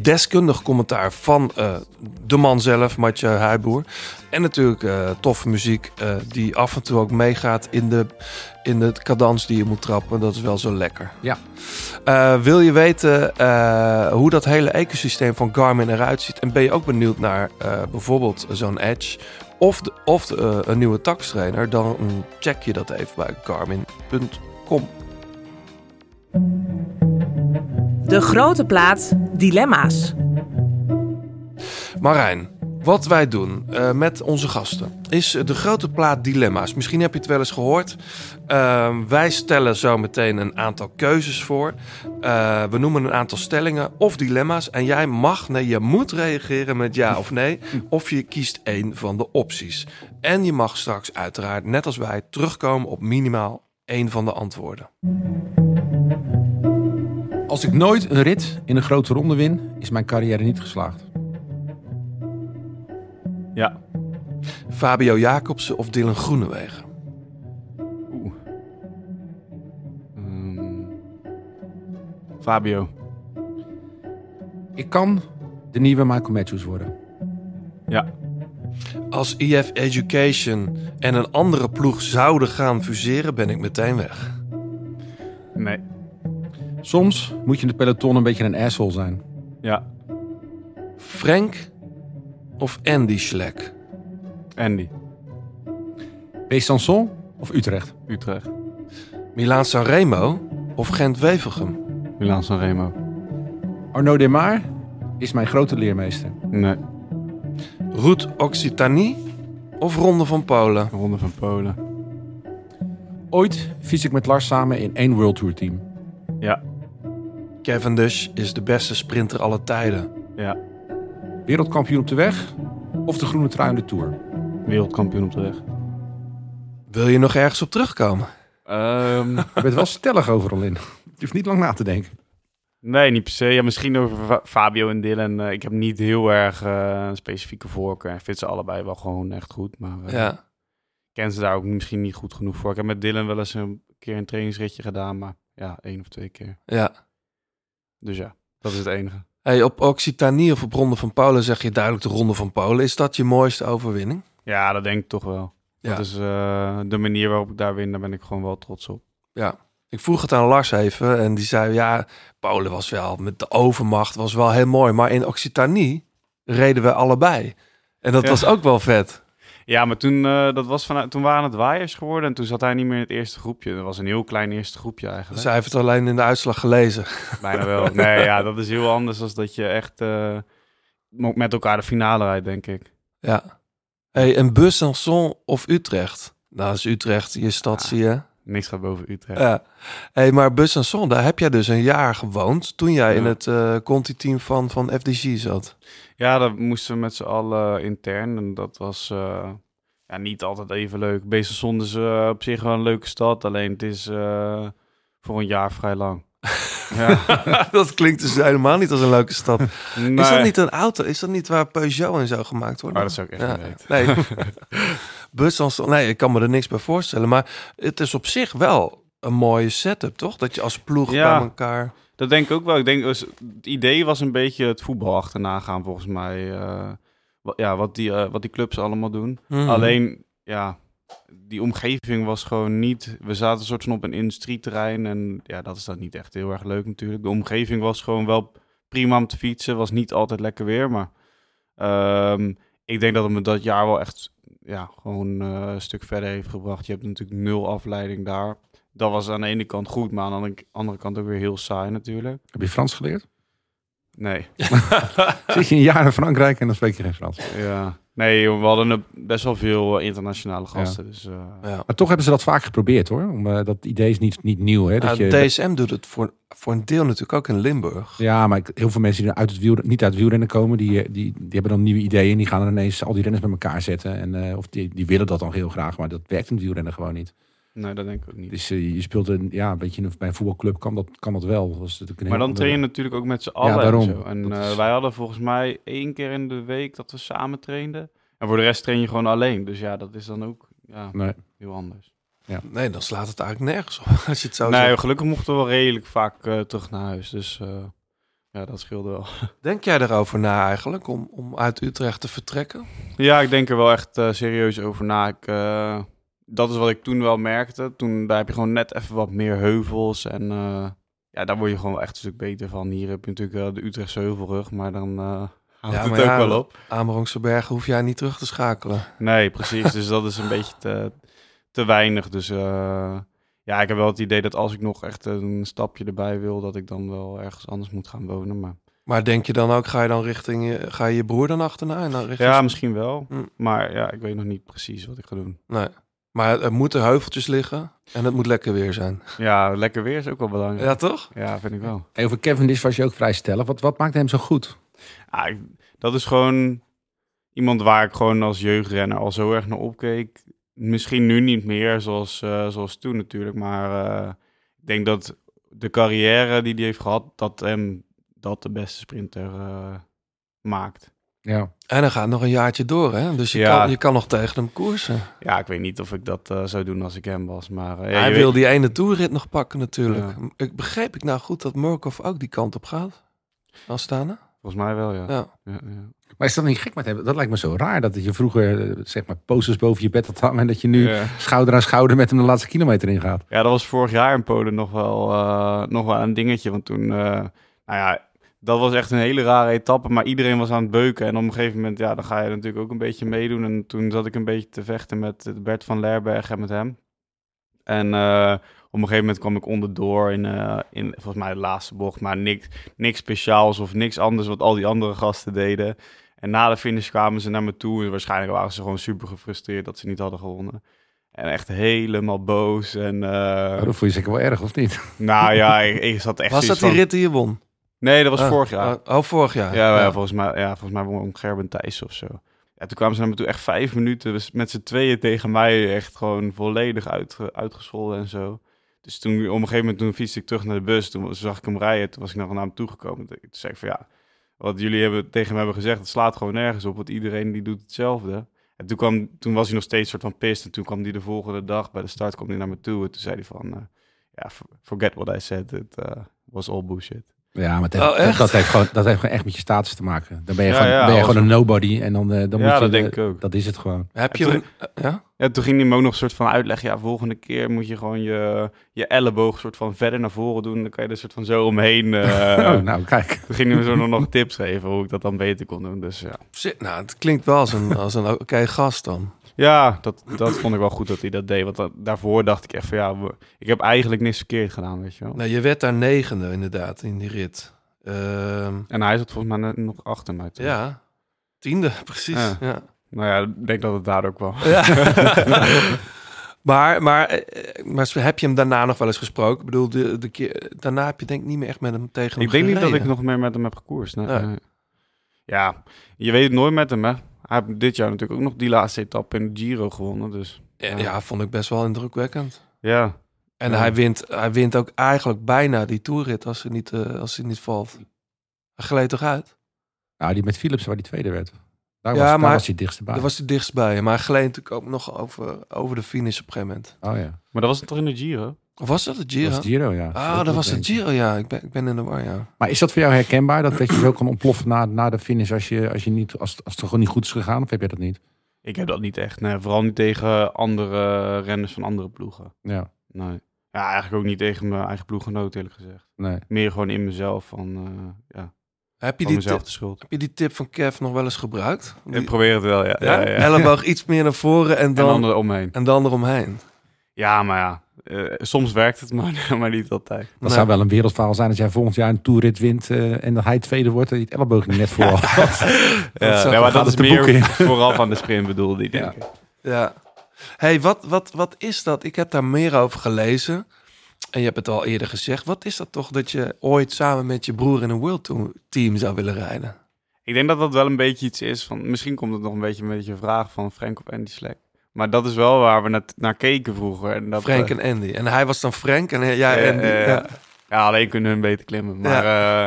S3: deskundig commentaar van eh, de man zelf, Matje Huiboer. En natuurlijk eh, toffe muziek eh, die af en toe ook meegaat in de, in de cadans die je moet trappen. Dat is wel zo lekker.
S10: Ja.
S3: Eh, wil je weten eh, hoe dat hele ecosysteem van Garmin eruit ziet? En ben je ook benieuwd naar eh, bijvoorbeeld zo'n Edge of, de- of de, eh, een nieuwe taxtrainer? Dan mm, check je dat even bij garmin.com.
S8: De grote plaat Dilemma's.
S3: Marijn, wat wij doen eh, met onze gasten is de grote plaat dilemma's. Misschien heb je het wel eens gehoord. Eh, wij stellen zo meteen een aantal keuzes voor. Eh, we noemen een aantal stellingen of dilemma's. En jij mag, nee, je moet reageren met ja of nee. Of je kiest één van de opties. En je mag straks uiteraard, net als wij, terugkomen op minimaal één van de antwoorden.
S10: Als ik nooit een rit in een grote ronde win, is mijn carrière niet geslaagd.
S9: Ja.
S3: Fabio Jacobsen of Dylan Groenewegen?
S9: Oeh. Ehm, Fabio.
S10: Ik kan de nieuwe Michael Matthews worden.
S9: Ja.
S3: Als IF Education en een andere ploeg zouden gaan fuseren, ben ik meteen weg.
S9: Nee.
S10: Soms moet je in het peloton een beetje een asshole zijn.
S9: Ja.
S3: Frank of Andy Schleck?
S9: Andy.
S10: Besançon of Utrecht?
S9: Utrecht.
S3: Milaan Sanremo of Gent Wevergem?
S9: Milan Sanremo.
S10: Arno Demar is mijn grote leermeester.
S9: Nee.
S3: Route Occitanie of Ronde van Polen?
S9: Ronde van Polen.
S10: Ooit fiets ik met Lars samen in één World Tour team.
S9: Ja.
S3: Cavendish is de beste sprinter aller tijden.
S9: Ja.
S10: Wereldkampioen op de weg of de groene trui in de Tour?
S9: Wereldkampioen op de weg.
S3: Wil je nog ergens op terugkomen?
S9: Ehm,
S10: Je bent wel stellig overal in. Je hoeft niet lang na te denken.
S9: nee, niet per se. Ja, misschien over Fa- Fabio en Dylan. Eh, ik heb niet heel erg eh, een specifieke voorkeur. Ik vind ze allebei wel gewoon echt goed. Maar eh,
S3: Ja.
S9: ik ken ze daar ook misschien niet goed genoeg voor. Ik heb met Dylan wel eens een keer een trainingsritje gedaan. Maar ja, één of twee keer.
S3: ja.
S9: Dus ja, dat is het enige.
S3: Hey, op Occitanie of op Ronde van Polen zeg je duidelijk de Ronde van Polen. Is dat je mooiste overwinning?
S9: Ja, dat denk ik toch wel.
S3: Ja.
S9: Dat is eh, de manier waarop ik daar win. Daar ben ik gewoon wel trots op.
S3: Ik vroeg het aan Lars even en die zei: Ja, Polen was wel met de overmacht, was wel heel mooi. Maar in Occitanie reden we allebei. En dat
S9: Ja.
S3: was ook wel vet.
S9: Ja, maar toen, eh, dat was vanuit, toen waren het waaiers geworden en toen zat hij niet meer in het eerste groepje. Dat was een heel klein eerste groepje eigenlijk.
S3: Zij heeft het alleen in de uitslag gelezen.
S9: Bijna wel. Nee, ja, dat is heel anders dan dat je echt eh, mo- met elkaar de finale rijdt, denk ik.
S3: Ja. Hey, en Besançon of Utrecht? Nou, dat is Utrecht, je stad, zie je.
S9: Niks gaat boven Utrecht.
S3: Ah. Ja. Hey, maar Besançon, daar heb jij dus een jaar gewoond toen jij in
S9: Ja.
S3: het eh Conti-team van, van FDG zat.
S9: Ja, dat moesten we met z'n allen intern en dat was eh, ja, niet altijd even leuk. Beestelzond is eh, op zich wel een leuke stad, alleen het is eh, voor een jaar vrij lang. ja,
S3: dat klinkt dus helemaal niet als een leuke stad. Is dat
S9: nee.
S3: niet een auto? Is dat niet waar Peugeot en zo gemaakt worden?
S9: Oh, dat zou ik echt niet weten.
S3: Nee. Besançon, nee, ik kan me er niks bij voorstellen. Maar het is op zich wel een mooie setup, toch? Dat je als ploeg
S9: Ja.
S3: bij elkaar...
S9: Dat denk ik ook wel. Ik denk, dus, het idee was een beetje het voetbal achterna gaan, volgens mij. eh, wa- ja, wat die, eh, wat die clubs allemaal doen.
S3: Mhm.
S9: Alleen, ja, die omgeving was gewoon niet... We zaten een soort van op een industrieterrein en ja, dat is dan niet echt heel erg leuk natuurlijk. De omgeving was gewoon wel prima om te fietsen. Was niet altijd lekker weer, maar... ehm, ik denk dat het me dat jaar wel echt ja, gewoon eh, een stuk verder heeft gebracht. Je hebt natuurlijk nul afleiding daar. Dat was aan de ene kant goed, maar aan de andere kant ook weer heel saai natuurlijk.
S10: Heb je Frans geleerd?
S9: Nee,
S10: Zit je een jaar in Frankrijk en dan spreek je geen Frans.
S9: ja. Nee, joh, we hadden een- best wel veel eh, internationale gasten. Dus, eh,
S3: Ja.
S10: Maar toch hebben ze dat vaak geprobeerd hoor. Om, eh, dat idee is niet, niet nieuw. Hè? Dat
S3: Nou,
S10: je,
S3: DSM doet het voor, voor een deel natuurlijk ook in Limburg.
S10: Ja, maar ik- heel veel mensen die uit het wiel, niet uit het wielrennen komen, die, eh, die, die hebben dan nieuwe ideeën. En die gaan dan ineens al die renners bij elkaar zetten. En, eh, of die, die willen dat dan heel graag, maar dat werkt in het wielrennen gewoon niet.
S9: Nee, dat denk ik ook niet.
S10: Dus eh, je speelt een, ja, een beetje een- bij een voetbalclub kan dat, kan dat wel. Was het
S9: maar dan train je natuurlijk ook met z'n allen.
S10: daarom.
S9: En, zo. en
S10: Dat
S9: eh,
S10: is-
S9: wij hadden volgens mij één keer in de week dat we samen trainden. En voor de rest train je gewoon alleen. Dus ja, dat is dan ook ja,
S10: Nee.
S9: heel anders.
S3: Nee, dan slaat het eigenlijk nergens op als je het zou
S9: nee,
S3: zeggen.
S9: gelukkig mochten we wel redelijk vaak eh, terug naar huis. Dus eh, ja, dat scheelde wel.
S3: Denk jij daarover na eigenlijk, om, om uit Utrecht te vertrekken?
S9: Ja, ik denk er wel echt eh, serieus over na. Ik, eh, dat is wat ik toen wel merkte. Toen daar heb je gewoon net even wat meer heuvels. En eh, ja, daar word je gewoon echt een stuk beter van. Hier heb je natuurlijk wel de Utrechtse heuvelrug, maar dan eh houdt
S3: Ja,
S9: het
S3: maar
S9: ook
S3: ja,
S9: wel op.
S3: Amerongse Bergen hoef jij niet terug te schakelen.
S9: Nee, precies. dus dat is een beetje te, te weinig. Dus eh, ja, ik heb wel het idee dat als ik nog echt een stapje erbij wil, dat ik dan wel ergens anders moet gaan wonen. Maar
S3: Maar denk je dan ook, ga je dan richting je, ga je, je broer dan achterna? En dan richting...
S9: ja, misschien wel.
S3: Hm.
S9: Maar ja, ik weet nog niet precies wat ik ga doen.
S3: Nee. Maar er moeten heuveltjes liggen en het moet lekker weer zijn.
S9: Ja, lekker weer is ook wel belangrijk.
S3: Ja, toch?
S9: ja vind ik wel.
S10: Hey, over Cavendish was je ook vrij stellig. Wat, wat maakt hem zo goed?
S9: Ja, ik- dat is gewoon iemand waar ik gewoon als jeugdrenner al zo erg naar opkeek. Misschien nu niet meer zoals, eh, zoals toen natuurlijk, maar eh, ik denk dat de carrière die hij heeft gehad, dat hem dat de beste sprinter eh, maakt.
S10: Ja.
S3: En dan gaat nog een jaartje door, hè? Dus je,
S9: Ja.
S3: kan, je kan nog tegen hem koersen.
S9: Ja, ik weet niet of ik dat eh, zou doen als ik hem was, maar... eh, ja,
S3: Hij
S9: je
S3: wil
S9: weet-
S3: die ene toerrit nog pakken natuurlijk. Ik begreep ik nou goed dat Murkoff ook die kant op gaat? Astana?
S9: Volgens mij wel, ja.
S3: Ja.
S9: Ja, ja.
S10: Maar is dat niet gek met hem? Dat lijkt me zo raar. Dat je vroeger eh, zeg maar posters boven je bed had hangen. En dat je nu
S9: Ja.
S10: schouder aan schouder met hem de laatste kilometer ingaat.
S9: Ja, dat was vorig jaar in Polen nog wel, eh, nog wel een dingetje. Want toen, eh, nou ja, dat was echt een hele rare etappe. Maar iedereen was aan het beuken. En op een gegeven moment, ja, dan ga je natuurlijk ook een beetje meedoen. En toen zat ik een beetje te vechten met Bert van Lerberg en met hem. En eh, op een gegeven moment kwam ik onderdoor in, eh, in volgens mij de laatste bocht. Maar niks, niks speciaals of niks anders wat al die andere gasten deden. En na de finish kwamen ze naar me toe. En waarschijnlijk waren ze gewoon super gefrustreerd dat ze niet hadden gewonnen. En echt helemaal boos. En, eh,
S10: Nou, dat vond je zeker wel erg, of niet?
S9: nou ja, ik, ik zat echt
S3: Oh. Was dat
S9: zoiets
S3: die
S9: van-
S3: rit die je won?
S9: Nee, dat was
S3: Ah,
S9: vorig jaar.
S3: ah, oh, vorig jaar.
S9: ja, ja, volgens mij, ja, volgens mij won Gerben Thijs of zo. En toen kwamen ze naar me toe echt vijf minuten dus met z'n tweeën tegen mij echt gewoon volledig uitge, uitgescholden en zo. Dus toen, op een gegeven moment toen fietste ik terug naar de bus. Toen zag ik hem rijden. Toen was ik nog naar hem toegekomen. Toen zei ik van ja, wat jullie hebben, tegen me hebben gezegd, het slaat gewoon nergens op. Want iedereen die doet hetzelfde. En toen, kwam, toen was hij nog steeds soort van pist. En toen kwam hij de volgende dag bij de start kwam hij naar me toe. En toen zei hij van, eh, ja, for- forget what I said. It eh, was all bullshit.
S10: Ja, maar het heeft-
S3: Oh,
S10: dat,
S3: echt?
S10: dat heeft gewoon, dat heeft gewoon echt met je status te maken. Dan ben je
S9: Ja,
S10: gewoon,
S9: ja,
S10: ben je
S9: als-
S10: gewoon een nobody. En dan, eh, dan
S9: Ja,
S10: moet je...
S9: dat
S10: de-
S9: denk ik ook.
S10: Dat is het gewoon.
S3: Heb je...
S9: En
S3: een- ja?
S9: Ja, toen ging hij me ook nog een soort van uitleggen. Ja, volgende keer moet je gewoon je, je elleboog soort van verder naar voren doen. Dan kan je er soort van zo omheen. eh.
S10: oh, nou, kijk.
S9: Toen ging hij me zo nog- nog tips geven hoe ik dat dan beter kon doen. Dus ja,
S3: Zit- Nou, het klinkt wel als een, als een oké gast dan.
S9: ja dat, dat vond ik wel goed dat hij dat deed. Want dat- daarvoor dacht ik echt van ja, we- ik heb eigenlijk niks verkeerd gedaan, weet je wel.
S3: Nou, je werd daar negende inderdaad in die rit. Ehm,
S9: En hij zat volgens mij net nog achter mij. toen.
S3: ja, tiende, precies.
S9: Ja.
S3: Ja.
S9: Nou ja, ik denk dat het daar ook wel.
S3: maar, maar, eh, maar heb je hem daarna nog wel eens gesproken? Ik bedoel, de, de keer, daarna heb je denk ik niet meer echt met hem tegen hem
S9: Ik denk niet dat ik
S3: gereden.
S9: nog meer met hem heb gekoerst. nee.
S3: Nee.
S9: Nee. Ja, je weet het nooit met hem, hè. Hij heeft dit jaar natuurlijk ook nog die laatste etappe in de Giro gewonnen, dus
S3: Ja, ja, vond ik best wel indrukwekkend.
S9: ja.
S3: En
S9: Ja.
S3: hij, wint, hij wint ook eigenlijk bijna die toerrit als hij niet, eh, als hij niet valt. Hij gleed toch uit?
S10: Nou, die met Philips waar die tweede werd. Daar,
S3: Ja,
S10: was, daar
S3: maar-
S10: was hij het dichtst bij.
S3: Dat was hij dichtst bij je. Maar hij gleed natuurlijk ook nog over, over de finish op een gegeven moment.
S10: Oh ja.
S9: Maar dat was het toch in de Giro?
S3: Of was dat de
S10: Dat
S3: Giro?
S10: was Giro, ja.
S3: Ah, dat was de Giro, ja. Ik ben, ik ben in de war, ja.
S10: Maar is dat voor jou herkenbaar? Dat, dat je zo kan ontploffen na, na de finish als, je, als, je niet, als, als het gewoon niet goed is gegaan? Of heb je dat niet?
S9: Ik heb dat niet echt. Nee, vooral niet tegen andere renners van andere ploegen.
S10: Ja.
S9: Nee. Ja, eigenlijk ook niet tegen mijn eigen ploeggenoot, eerlijk gezegd.
S10: Nee.
S9: Meer gewoon in mezelf van, eh, ja,
S3: Heb je,
S9: van
S3: die
S9: mezelf
S3: tip,
S9: de schuld.
S3: heb je die tip van Kev nog wel eens gebruikt? Die-
S9: Ik probeer het wel, ja. ja,
S3: ja?
S9: ja,
S3: Elleboog iets meer naar voren en
S9: En
S3: dan,
S9: anderen omheen.
S3: en dan eromheen.
S9: Ja, maar ja. eh, soms werkt het, maar, maar niet altijd.
S10: Dat
S3: Nee.
S10: zou wel een wereldverhaal zijn als jij volgend jaar een toerrit wint eh, en dat hij tweede wordt en je het elleboog niet net voor had.
S9: Ja,
S3: zou-
S9: nee,
S3: dan
S9: maar
S10: gaat
S9: dat is
S10: het de boeken in.
S9: meer vooraf aan de sprint bedoelde ik, denk
S10: Ja.
S9: ik.
S3: Ja. hey, wat, wat, wat is dat? Ik heb daar meer over gelezen. En je hebt het al eerder gezegd. Wat is dat toch dat je ooit samen met je broer in een World Tour team zou willen rijden?
S9: Ik denk dat dat wel een beetje iets is van... Misschien komt het nog een beetje met je vraag van Frank of Andy Slack. Maar dat is wel waar we net naar keken vroeger. En dat,
S3: Frank
S9: eh,
S3: en Andy. En hij was dan Frank en jij
S9: eh,
S3: Andy.
S9: eh,
S3: ja.
S9: ja, alleen kunnen hun beter klimmen. Maar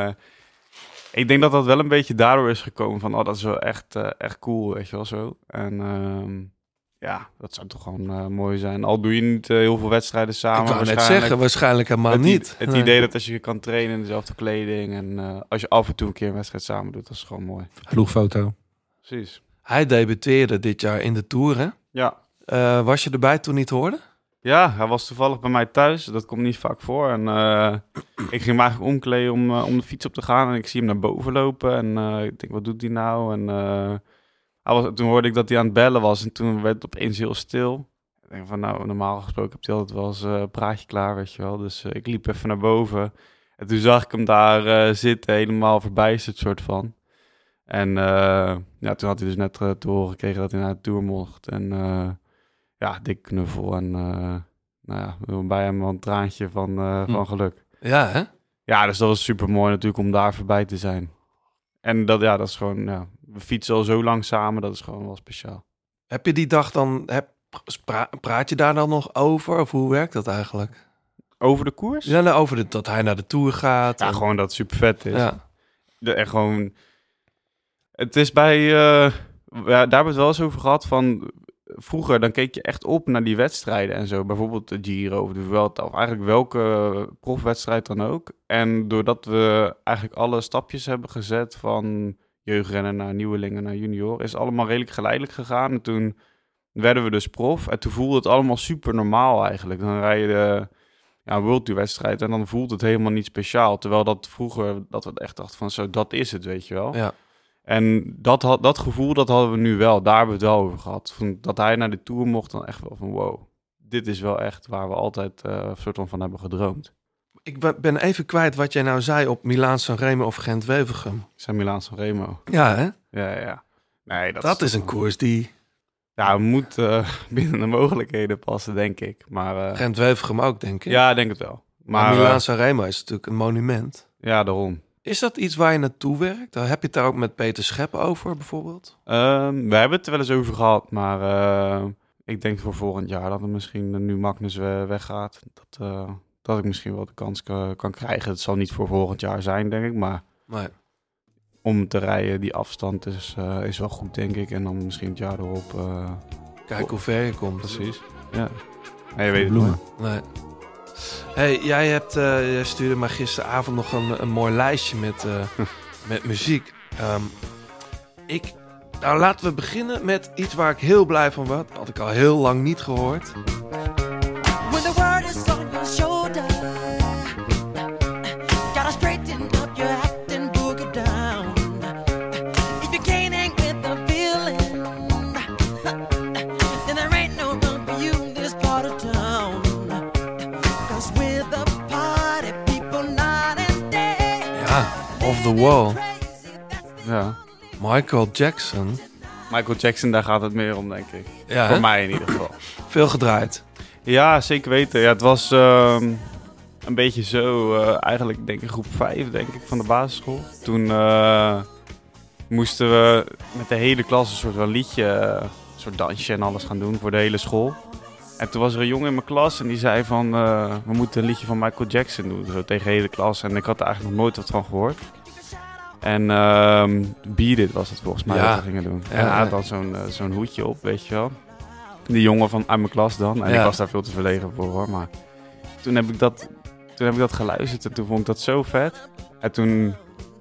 S9: eh, ik denk dat dat wel een beetje daardoor is gekomen van, oh, dat is wel echt, eh, echt cool, weet je wel zo. En ehm, ja, dat zou toch gewoon eh, mooi zijn. Al doe je niet eh, heel veel wedstrijden samen.
S3: ik wou net
S9: waarschijnlijk.
S3: zeggen, waarschijnlijk helemaal
S9: het i-
S3: niet.
S9: Het
S3: Nee.
S9: idee dat als je kan trainen in dezelfde kleding en eh, als je af en toe een keer een wedstrijd samen doet, dat is gewoon mooi.
S4: Ploegfoto.
S9: Precies.
S3: Hij debuteerde dit jaar in de Tour, hè?
S9: Ja.
S3: Eh, was je erbij toen niet hoorde?
S9: Ja, hij was toevallig bij mij thuis. Dat komt niet vaak voor. En eh, ik ging hem eigenlijk omkleden om, eh, om de fiets op te gaan. En ik zie hem naar boven lopen. En eh, ik denk, wat doet hij nou? En eh, hij was, toen hoorde ik dat hij aan het bellen was. En toen werd het opeens heel stil. Ik denk van, nou, normaal gesproken heb hij altijd wel eens eh, een praatje klaar, weet je wel. Dus eh, ik liep even naar boven. En toen zag ik hem daar eh, zitten, helemaal verbijsterd soort van. En eh, ja, toen had hij dus net eh, te horen gekregen dat hij naar de Tour mocht. En... eh, ja, dik knuffel en eh, nou ja, we hebben bij hem wel een traantje van, eh, van geluk.
S3: Ja, hè?
S9: Ja, dus dat was super mooi natuurlijk om daar voorbij te zijn. En dat, ja, dat is gewoon, ja, we fietsen al zo lang samen, dat is gewoon wel speciaal.
S3: Heb je die dag dan... Heb, pra- praat je daar dan nog over? Of hoe werkt dat eigenlijk?
S9: Over de koers? Ja,
S3: Ja, nou, over de, dat hij naar de Tour gaat. en-
S9: gewoon dat het super vet is.
S3: Ja.
S9: De, echt gewoon. Het is bij. eh, ja, daar hebben we het wel eens over gehad. Van vroeger, dan keek je echt op naar die wedstrijden en zo. Bijvoorbeeld de Giro of de Vuelta. Of eigenlijk welke profwedstrijd dan ook. En doordat we eigenlijk alle stapjes hebben gezet. Van jeugdrennen naar nieuwelingen naar junior. Is allemaal redelijk geleidelijk gegaan. En toen werden we dus prof. En toen voelde het allemaal super normaal eigenlijk. Dan rij je de ja, een World Tour wedstrijd. En dan voelt het helemaal niet speciaal. Terwijl dat vroeger, dat we echt dachten van zo, dat is het, weet je wel.
S3: Ja.
S9: En dat, had, dat gevoel, dat hadden we nu wel. Daar hebben we het wel over gehad. Van, dat hij naar de Tour mocht, dan echt wel van wow. Dit is wel echt waar we altijd eh, een soort van van hebben gedroomd.
S3: Ik be- ben even kwijt wat jij nou zei op Milaan Sanremo of Gent-Wevergem.
S9: San Milaan San Remo.
S3: Ja, hè?
S9: Ja, ja. Nee, dat,
S3: Dat is een koers die
S9: Ja, het moet eh, binnen de mogelijkheden passen, denk ik. Maar eh,
S3: Gent-Wevergem ook, denk ik.
S9: ja, ik denk het wel. Maar eh,
S3: Milaan Sanremo is natuurlijk een monument.
S9: ja, daarom.
S3: Is dat iets waar je naartoe werkt? Heb je het daar ook met Peter Schep over, bijvoorbeeld?
S9: Ehm, we hebben het er wel eens over gehad, maar eh, ik denk voor volgend jaar dat er misschien eh, nu Magnus eh, weggaat. Dat, eh, dat ik misschien wel de kans ka- kan krijgen. Het zal niet voor volgend jaar zijn, denk ik. Maar
S3: Nee.
S9: om te rijden, die afstand is, eh, is wel goed, denk ik. En dan misschien het jaar erop. eh,
S3: Kijk hoe ver je komt.
S9: precies. Ja. Nee, je weet het
S4: Bloemen.
S9: nooit.
S3: Nee. Hey, jij, hebt, eh, jij stuurde mij gisteravond nog een, een mooi lijstje met, eh, met muziek. Ehm, ik, nou, laten we beginnen met iets waar ik heel blij van was. Had ik al heel lang niet gehoord.
S11: When the world is on your shoulder, gotta straighten up your act and book it down. If you can't hang with the feeling, then there ain't no room for you in this part of town. Cause we're the party people night and day.
S3: Ja, Off the Wall.
S11: Crazy, that's the
S9: Ja.
S3: Michael Jackson.
S9: Michael Jackson, daar gaat het meer om, denk ik.
S3: Ja,
S9: Voor
S3: hè?
S9: mij in ieder geval.
S3: veel gedraaid.
S9: Ja, zeker weten. Ja, het was ehm, een beetje zo, eh, eigenlijk denk ik groep 5 denk ik, van de basisschool. Toen eh, moesten we met de hele klas een soort wel liedje, eh, een soort dansje en alles gaan doen voor de hele school. En toen was er een jongen in mijn klas en die zei van, eh, we moeten een liedje van Michael Jackson doen, zo tegen de hele klas. En ik had er eigenlijk nog nooit wat van gehoord. En ehm Beat It was het volgens mij
S3: Ja.
S9: dat we gingen doen.
S3: Ja,
S9: en hij had
S3: ja.
S9: dan zo'n eh, zo'n hoedje op, weet je wel. Die jongen van uit mijn klas dan. En
S3: Ja.
S9: ik was daar veel te verlegen voor hoor. Maar toen heb ik dat, toen heb ik dat geluisterd en toen vond ik dat zo vet. En toen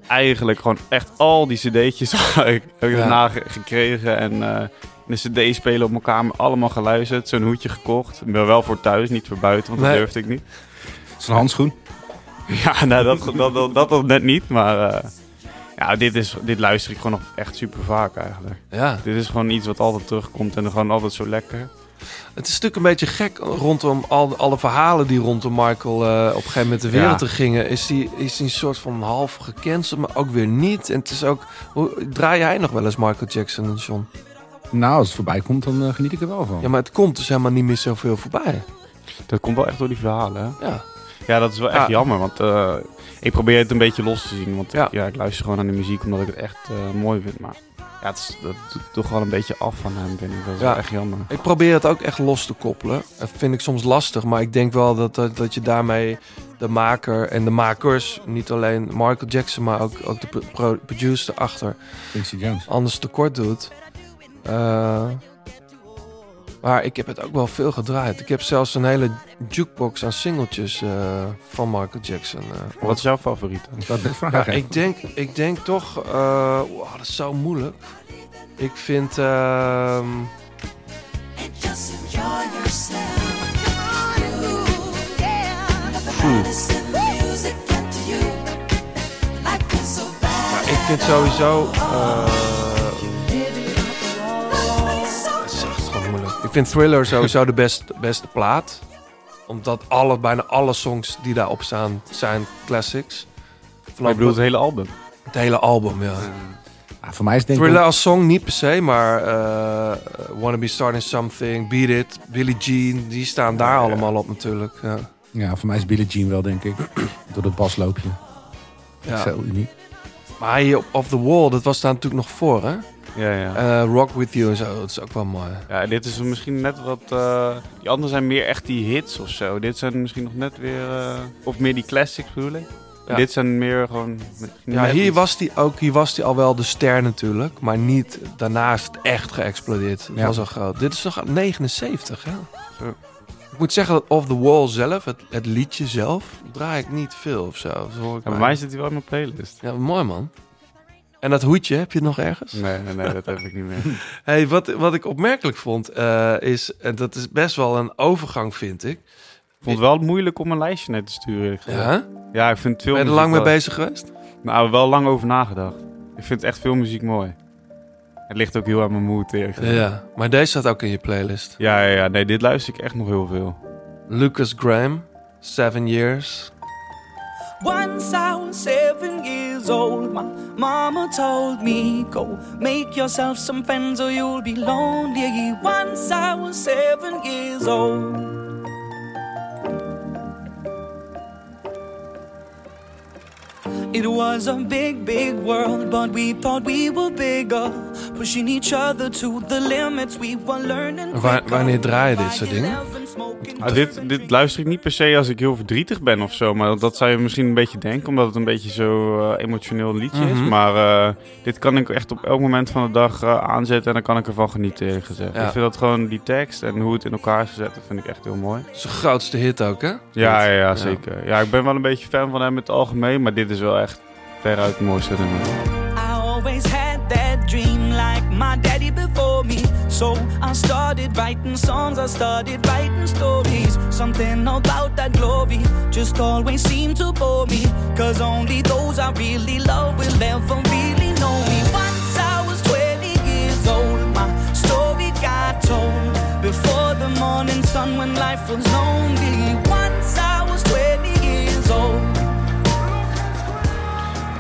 S9: eigenlijk gewoon echt al die cd'tjes heb ik
S3: Ja.
S9: daarna ge- gekregen. En eh, in de cd spelen op mijn kamer allemaal geluisterd. Zo'n hoedje gekocht. Maar wel voor thuis, niet voor buiten, want
S3: Nee.
S9: dat durfde ik niet.
S4: Het is een handschoen.
S9: Ja, nou, dat, dat, dat, dat nog net niet. Maar eh, ja, dit, is, dit luister ik gewoon nog echt super vaak eigenlijk.
S3: Ja.
S9: Dit is gewoon iets wat altijd terugkomt en gewoon altijd zo lekker.
S3: Het is natuurlijk een beetje gek rondom al, alle verhalen die rondom Michael eh, op een gegeven moment de wereld
S9: Ja.
S3: in gingen. Is die, is die een soort van half gecanceld, maar ook weer niet. En het is ook. Hoe, draai jij nog wel eens Michael Jackson en John?
S9: Oh.
S4: Nou, als het voorbij komt, dan eh, geniet ik er wel van.
S3: Ja, maar het komt dus helemaal niet meer zoveel voorbij.
S9: Dat komt wel echt door die verhalen, hè?
S3: Ja.
S9: Ja, dat is wel echt
S3: Ja.
S9: jammer, want eh, ik probeer het een beetje los te zien. Want Ah. ja. Ik, ja, ik luister gewoon aan de muziek omdat ik het echt uh, mooi vind. Maar ja, het is, dat doet toch wel een beetje af van hem, vind ik. Dat is ja. wel echt jammer.
S3: Ik probeer het ook echt los te koppelen. Dat vind ik soms lastig. Maar ik denk wel dat, dat, dat je daarmee de maker en de makers, niet alleen Michael Jackson, maar ook, ook de pro producer achter,
S4: Quincy Jones.
S3: anders tekort doet. Uh, maar ik heb het ook wel veel gedraaid. Ik heb zelfs een hele jukebox aan singeltjes uh, van Michael Jackson. Uh.
S9: Wat is jouw favoriet?
S4: Dat is vraag
S3: ja, ik, denk, ik denk toch... Uh, wow, dat is zo moeilijk. Ik vind... ehm, Ja, ik vind sowieso... eh, Ik vind Thriller sowieso de best, beste plaat. Omdat alle, bijna alle songs die daarop staan, zijn classics.
S9: Vanaf bedoelt het hele album?
S3: Het hele album, ja.
S4: ja voor mij is denk
S3: Thriller ook... als song niet per se, maar uh, Wanna Be Starting Something, Beat It, Billie Jean, die staan daar ja, allemaal ja. op natuurlijk. Ja.
S4: ja, voor mij is Billie Jean wel, denk ik. Door het basloopje. Ja. Zo uniek.
S3: Maar hier op Off The Wall, dat was daar natuurlijk nog voor, hè?
S9: Ja, ja.
S3: Uh, Rock With You en zo, dat is ook wel mooi.
S9: Eh, Ja, dit is misschien net wat... Uh, die anderen zijn meer echt die hits of zo. Dit zijn misschien nog net weer... Uh, of meer die classics bedoel ik. Ja. Dit zijn meer gewoon...
S3: Ja, hier iets. was, die ook, hier was die al wel de ster natuurlijk. Maar niet daarna is het echt geëxplodeerd. Dat ja. was al groot. Dit is nog 79, hè? Zo. Ik moet zeggen dat Off The Wall zelf, het, het liedje zelf... draai ik niet veel of zo. Dat hoor ik
S9: ja, bij mij zit hij wel in mijn playlist.
S3: Ja, mooi man. En dat hoedje, heb je het nog ergens?
S9: Nee, nee, nee dat heb ik niet meer.
S3: hey, wat, wat ik opmerkelijk vond, uh, is, en dat is best wel een overgang, vind ik.
S9: Ik vond het wel moeilijk om een lijstje net te sturen.
S3: Ja?
S9: Ja, ik vind veel
S3: Ben je er lang mee wel... bezig geweest?
S9: Nou, wel lang over nagedacht. Ik vind echt veel muziek mooi. Het ligt ook heel aan mijn moed, eerlijk gezegd.
S3: Ja, maar deze staat ook in je playlist.
S9: Ja, ja, ja. Nee, dit luister ik echt nog heel veel.
S3: Lucas Graham, Seven Years.
S11: Once I was seven years old, my mama told me, Go make yourself some friends or you'll be lonely. Once I was seven years old. It was a big, big world, but we thought we were bigger. Pushing each other to the limits, we were learning.
S3: Wa wanneer draai je dit soort dingen?
S9: Ah, dit, dit luister ik niet per se als ik heel verdrietig ben of zo. Maar dat zou je misschien een beetje denken, omdat het een beetje zo uh, emotioneel liedje
S3: Mhm.
S9: mm -hmm. is. Maar uh, dit kan ik echt op elk moment van de dag uh, aanzetten en dan kan ik ervan genieten, eerlijk gezegd. Ja. Ik vind dat gewoon die tekst en hoe het in elkaar is gezet, dat vind ik echt heel mooi.
S3: Het is zijn grootste hit ook, hè? Ja,
S9: ja, ja, zeker. Ja, ik ben wel een beetje fan van hem in het algemeen, maar dit is wel echt veruit het mooiste nummer.
S11: I always had that dream like my daddy before me. So I started writing songs, I started writing stories. Something about that glory just always seemed to bore me. Cause only those I really love will ever really know me. Once I was 20 years old, my story got told. Before the morning sun when life was lonely. Once I was 20 years old.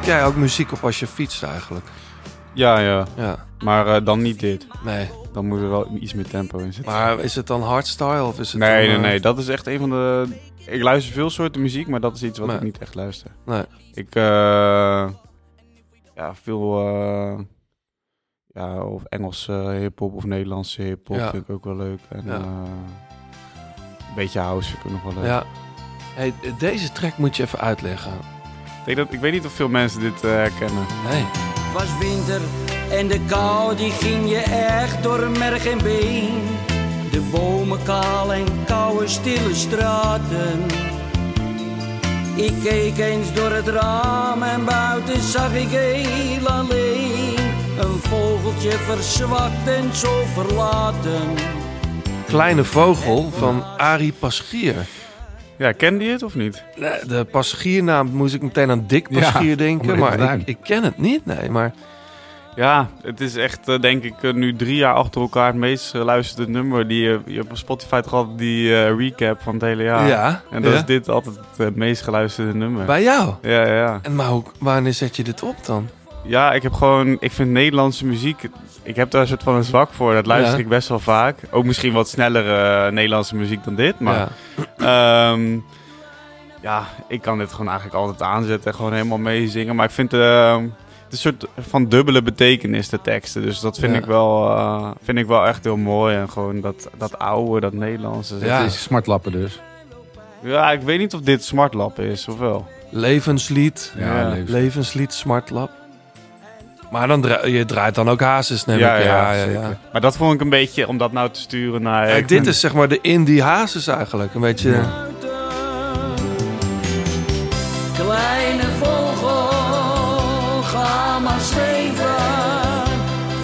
S3: Jij ook muziek op als je fietst eigenlijk?
S9: Ja, ja.
S3: ja.
S9: Maar uh, dan niet dit.
S3: Nee.
S9: Dan moet er wel iets meer tempo in zitten.
S3: Maar is het dan hardstyle of is het
S9: Nee,
S3: dan, eh,
S9: nee, nee. Dat is echt een van de... Ik luister veel soorten muziek, maar dat is iets wat nee. ik niet echt luister.
S3: Nee.
S9: Ik... Uh, ja, veel... Uh, ja, of Engelse hiphop of Nederlandse hiphop ja. vind ik ook wel leuk. En ja. een beetje house vind ik ook nog wel leuk.
S3: Ja. Hey, deze track moet je even uitleggen.
S9: Ik, denk dat, ik weet niet of veel mensen dit eh, herkennen.
S3: Nee.
S11: Het was winter en de kou die ging je echt door merg en been. De bomen kaal en koude stille straten. Ik keek eens door het raam en buiten zag ik heel alleen. Een vogeltje verzwakt en zo verlaten.
S3: Kleine vogel van Arie Paschier.
S9: Ja, kende je het of niet?
S3: De passagiernaam moest ik meteen aan Dick Paschier ja, denken, maar ik, ik, ken het niet, nee, maar...
S9: Ja, het is echt, eh, denk ik, nu drie jaar achter elkaar het meest geluisterde nummer. Die, je op Spotify toch altijd die uh, recap van het hele jaar.
S3: Ja.
S9: En dat
S3: ja.
S9: is dit altijd het eh, meest geluisterde nummer.
S3: Bij jou?
S9: Ja, ja.
S3: En maar hoe, wanneer zet je dit op dan?
S9: Ja, ik heb gewoon, ik vind Nederlandse muziek, ik heb daar een soort van een zwak voor. Dat luister ja. ik best wel vaak. eh, Nou, Ook misschien wat snellere Nederlandse muziek dan dit, maar. Ja. Um, Ehm, Ja, ik kan dit gewoon eigenlijk altijd aanzetten en gewoon helemaal meezingen. Maar ik vind eh, het is een soort van dubbele betekenis, de teksten. Dus dat vind,
S4: Ja.
S9: ik, wel, eh, vind ik wel echt heel mooi. En gewoon dat, dat oude, dat Nederlandse.
S4: Het is smartlappen dus.
S9: Ja, ik weet niet of dit smartlap is, of wel.
S3: Levenslied.
S9: Ja,
S3: Ja,
S9: levenslied.
S3: levenslied, smartlap. Maar dan dra- je draait dan ook hazes, neem
S9: ja,
S3: ik.
S9: ja, zeker. Maar dat vond ik een beetje, om dat nou te sturen naar...
S3: Kijk, dit is zeg maar de indie hazes eigenlijk. Een beetje...
S12: Kleine vogel, ga maar zweven.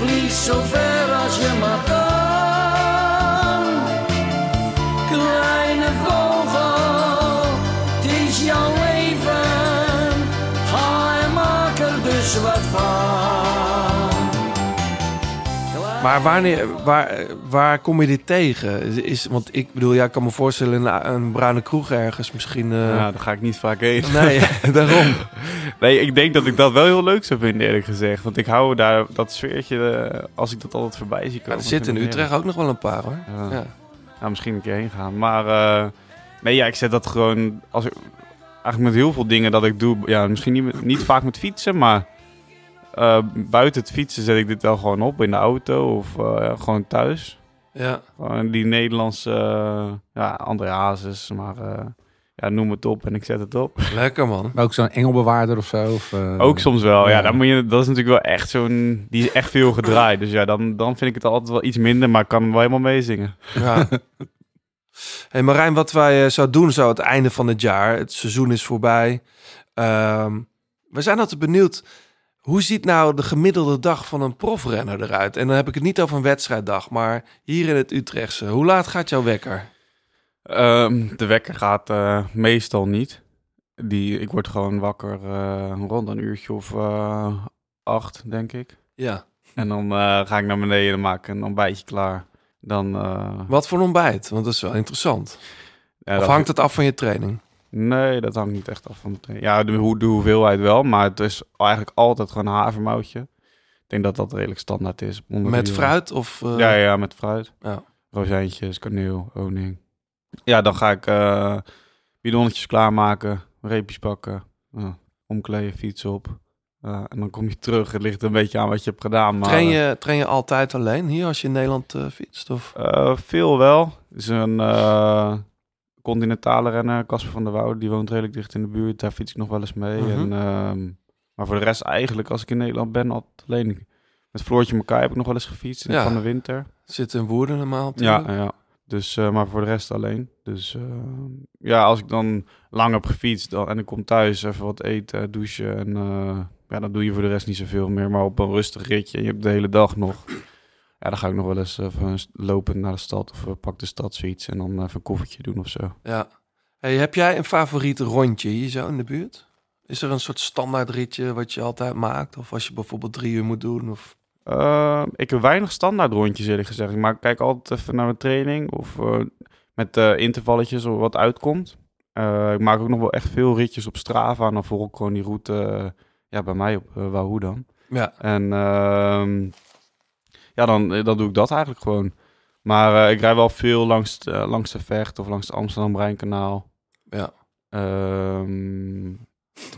S12: Vlieg zo ver als je maar kan. Kleine
S11: Oh,
S12: vogel, het is jouw leven. Ga en maak er dus wat van.
S3: Maar wanneer, waar, waar kom je dit tegen? Is, want ik bedoel, ja, ik kan me voorstellen in een, een bruine kroeg ergens misschien... eh,
S9: Ja, daar ga ik niet vaak heen.
S3: Nee, daarom.
S9: Nee, ik denk dat ik dat wel heel leuk zou vinden, eerlijk gezegd. Want ik hou daar dat sfeertje, eh, als ik dat altijd voorbij zie
S3: Ja,
S9: komen.
S3: er zitten in
S9: vind ik
S3: Utrecht ook nog wel een paar hoor.
S9: heerlijk. Ja.
S3: Ja.
S9: Nou, misschien een keer heen gaan. Maar eh, nee, ja, ik zet dat gewoon... Als ik, eigenlijk met heel veel dingen dat ik doe... Ja, misschien niet, met- niet vaak met fietsen, maar... eh, buiten het fietsen zet ik dit wel gewoon op in de auto of eh, gewoon thuis.
S3: Ja.
S9: Gewoon die Nederlandse, eh, ja, André Hazes, maar eh, ja, noem het op en ik zet het op.
S3: Lekker man.
S4: Maar ook zo'n engelbewaarder of zo. Of, eh,
S9: Ook soms wel, ja.
S4: ja.
S9: Dan moet je, dat is natuurlijk wel echt zo'n... Die is echt veel gedraaid. Dus ja, dan, dan vind ik het altijd wel iets minder, maar ik kan hem wel helemaal meezingen.
S3: Ja. hey Marijn, wat wij eh, zouden doen zou het einde van het jaar. Het seizoen is voorbij. Ehm, we zijn altijd benieuwd. Hoe ziet nou de gemiddelde dag van een profrenner eruit? En dan heb ik het niet over een wedstrijddag, maar hier in het Utrechtse. Hoe laat gaat jouw wekker?
S9: Ehm, de wekker gaat eh, meestal niet. Die, ik word gewoon wakker eh, rond een uurtje of eh, acht, denk ik.
S3: Ja.
S9: En dan eh, ga ik naar beneden en maak ik een ontbijtje klaar. Dan, eh,
S3: Wat voor ontbijt? Want dat is wel interessant.
S9: Ja,
S3: of
S9: dat-
S3: hangt het af van je training?
S9: Nee, dat hangt niet echt af van de training. Ja, de, hoe- de hoeveelheid wel, maar het is eigenlijk altijd gewoon havermoutje. Ik denk dat dat redelijk standaard is. onder
S3: Met
S9: de uur.
S3: fruit of, eh?
S9: Ja, ja, met fruit.
S3: Ja.
S9: Rozijntjes, kaneel, honing. Ja, dan ga ik eh, bidonnetjes klaarmaken, reepjes bakken, eh, omkleden, fiets op. Eh, en dan kom je terug. Het ligt een beetje aan wat je hebt gedaan. Maar,
S3: Train je, train je altijd alleen hier als je in Nederland eh, fietst? Of?
S9: eh, veel wel. Er is een eh, continentale renner, Casper van der Woude, die woont redelijk dicht in de buurt. Daar fiets ik nog wel eens mee.
S3: Mhm.
S9: en, ehm, maar voor de rest eigenlijk, als ik in Nederland ben, altijd alleen. Met Floortje elkaar heb ik nog wel eens gefietst in
S3: Ja.
S9: van de winter.
S3: Zit in Woerden normaal
S9: Ja,
S3: natuurlijk.
S9: ja. Dus, eh, maar voor de rest alleen. Dus eh, ja, als ik dan lang heb gefietst dan, en ik kom thuis even wat eten, douchen. En eh, ja, dan doe je voor de rest niet zoveel meer. Maar op een rustig ritje en je hebt de hele dag nog. Ja, dan ga ik nog wel eens even st- lopen naar de stad of eh, pak de stadsfiets en dan even een koffietje doen of zo.
S3: Ja. Hey, heb jij een favoriet rondje hier zo in de buurt? Is er een soort standaard ritje wat je altijd maakt? Of als je bijvoorbeeld drie uur moet doen? Of...
S9: Eh, ik heb weinig standaard rondjes eerlijk gezegd. Maar ik kijk altijd even naar mijn training of eh, met eh, intervalletjes of wat uitkomt. Eh, ik maak ook nog wel echt veel ritjes op Strava en dan volg ik gewoon die route eh, ja, bij mij op eh, Wahoo dan.
S3: Ja.
S9: En ehm, ja, dan, eh, dan doe ik dat eigenlijk gewoon. Maar eh, ik rij wel veel langs, de- langs de Vecht of langs het Amsterdam-Rijnkanaal. Ehm,
S3: Ja.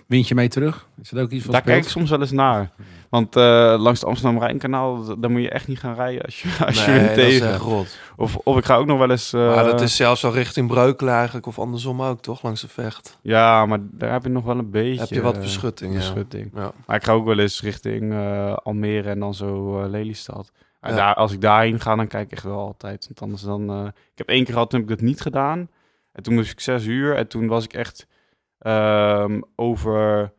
S4: Wind je mee terug? Is dat ook iets wat
S9: Daar kijk ik
S4: speelt?
S9: soms wel eens naar. Want eh, langs het Amsterdam-Rijnkanaal, d- daar moet je echt niet gaan rijden als je, als je
S3: Nee,
S9: wind
S3: dat is
S9: tegen.
S3: echt rot.
S9: Of, of ik ga ook nog wel eens... eh,
S3: maar dat is zelfs al richting Breukelen eigenlijk. Of andersom ook, toch? Langs de vecht.
S9: Ja, maar daar heb je nog wel een beetje...
S3: Heb je wat
S9: eh,
S3: beschutting, ja.
S9: beschutting.
S3: Ja.
S9: Maar ik ga ook wel eens richting eh, Almere en dan zo eh, Lelystad. En
S3: Ja.
S9: daar, als ik daarheen ga, dan kijk ik echt wel altijd. Want anders dan... eh, ik heb één keer gehad, toen heb ik dat niet gedaan. En toen moest ik zes uur. En toen was ik echt ehm, over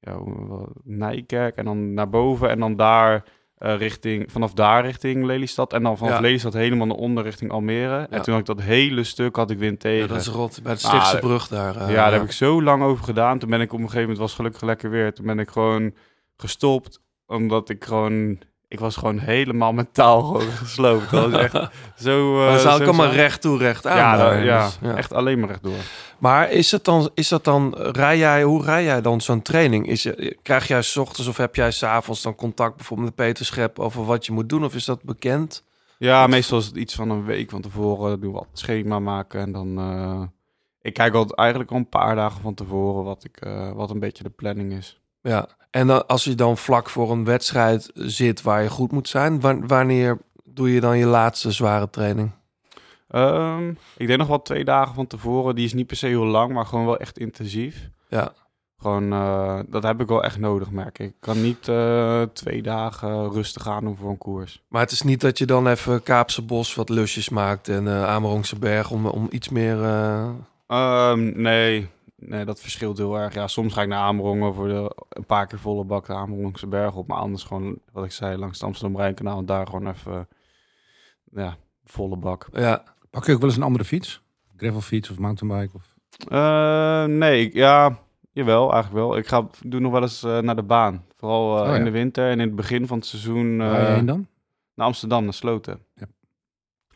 S9: ja, hoe- wat- Nijkerk en dan naar boven. En dan daar eh, richting... Vanaf daar richting Lelystad. En dan vanaf
S3: Ja.
S9: Lelystad helemaal naar onder richting Almere. En
S3: Ja.
S9: toen had ik dat hele stuk had ik wind tegen.
S3: Ja, dat is rot. Bij de
S9: Maar-
S3: Stichtse Brug daar, eh,
S9: ja, daar
S3: ja.
S9: heb ik zo lang over gedaan. Toen ben ik op een gegeven moment, was gelukkig lekker weer. Toen ben ik gewoon gestopt, omdat ik gewoon... Ik was gewoon helemaal mentaal gewoon gesloopt. Dat was echt zo... eh,
S3: maar het is
S9: zo
S3: eigenlijk allemaal
S9: zwaar.
S3: recht toe, recht aan.
S9: Ja,
S3: daar,
S9: dat- ja,
S3: dus, ja.
S9: echt alleen maar rechtdoor.
S3: Maar is dat dan, is dat dan rij jij, hoe rij jij dan zo'n training? Is, je- krijg jij 's ochtends of heb jij s'avonds dan contact bijvoorbeeld met Peter Schep over wat je moet doen? Of is dat bekend?
S9: Ja, meestal is het iets van een week van tevoren. Doen we wat schema maken en dan... eh, ik kijk altijd eigenlijk al een paar dagen van tevoren wat, ik, eh, wat een beetje de planning is.
S3: Ja, en dan, als je dan vlak voor een wedstrijd zit waar je goed moet zijn, wa- wanneer doe je dan je laatste zware training?
S9: Ehm, ik denk nog wel twee dagen van tevoren. Die is niet per se heel lang, maar gewoon wel echt intensief.
S3: Ja.
S9: Gewoon, eh, dat heb ik wel echt nodig, merk ik. Ik kan niet eh, twee dagen rustig aan doen voor een koers.
S3: Maar het is niet dat je dan even Kaapse Bos wat lusjes maakt en eh Amerongse Berg om, om iets meer... eh,
S9: Ehm, nee. nee, dat verschilt heel erg. Ja, soms ga ik naar Amerongen voor de, een paar keer volle bak de Amerongse berg op. Maar anders gewoon, wat ik zei, langs het Amsterdam-Rijnkanaal. en Daar gewoon even, ja, volle bak.
S3: Ja.
S4: Pak je ook wel eens een andere fiets? Gravelfiets of mountainbike? Of...
S9: Eh, nee, ik- ja, jawel, eigenlijk wel. Ik ga, doe nog wel eens eh, naar de baan. Vooral eh,
S4: Oh, ja.
S9: in de winter en in het begin van het seizoen.
S4: Waar ga je
S9: eh,
S4: heen dan?
S9: Naar Amsterdam, naar Sloten.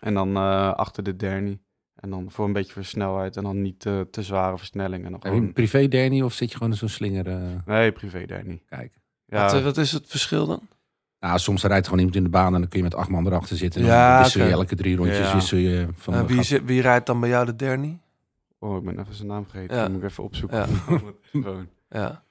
S9: En dan eh, achter de dernie. En dan voor een beetje voor snelheid. En dan niet eh, te zware versnellingen. Nog
S4: Heb je
S9: gewoon...
S4: een privé dernie of zit je gewoon in zo'n slinger? eh?
S9: Nee, privé dernie.
S4: Kijk.
S9: Ja.
S3: wat, eh, wat is het verschil dan?
S4: Nou, soms rijdt gewoon iemand in de baan en dan kun je met acht man erachter zitten. En
S3: Ja,
S4: dan wissel je
S3: oké.
S4: elke drie rondjes.
S9: Ja.
S4: Wissel je van
S3: Eh,
S4: de
S3: wie, zit- wie rijdt dan bij jou de dernie?
S9: Oh, ik ben even zijn naam vergeten.
S3: Ja.
S9: Die moet ik even opzoeken.
S3: Ja.
S9: Gewoon.
S3: Ja.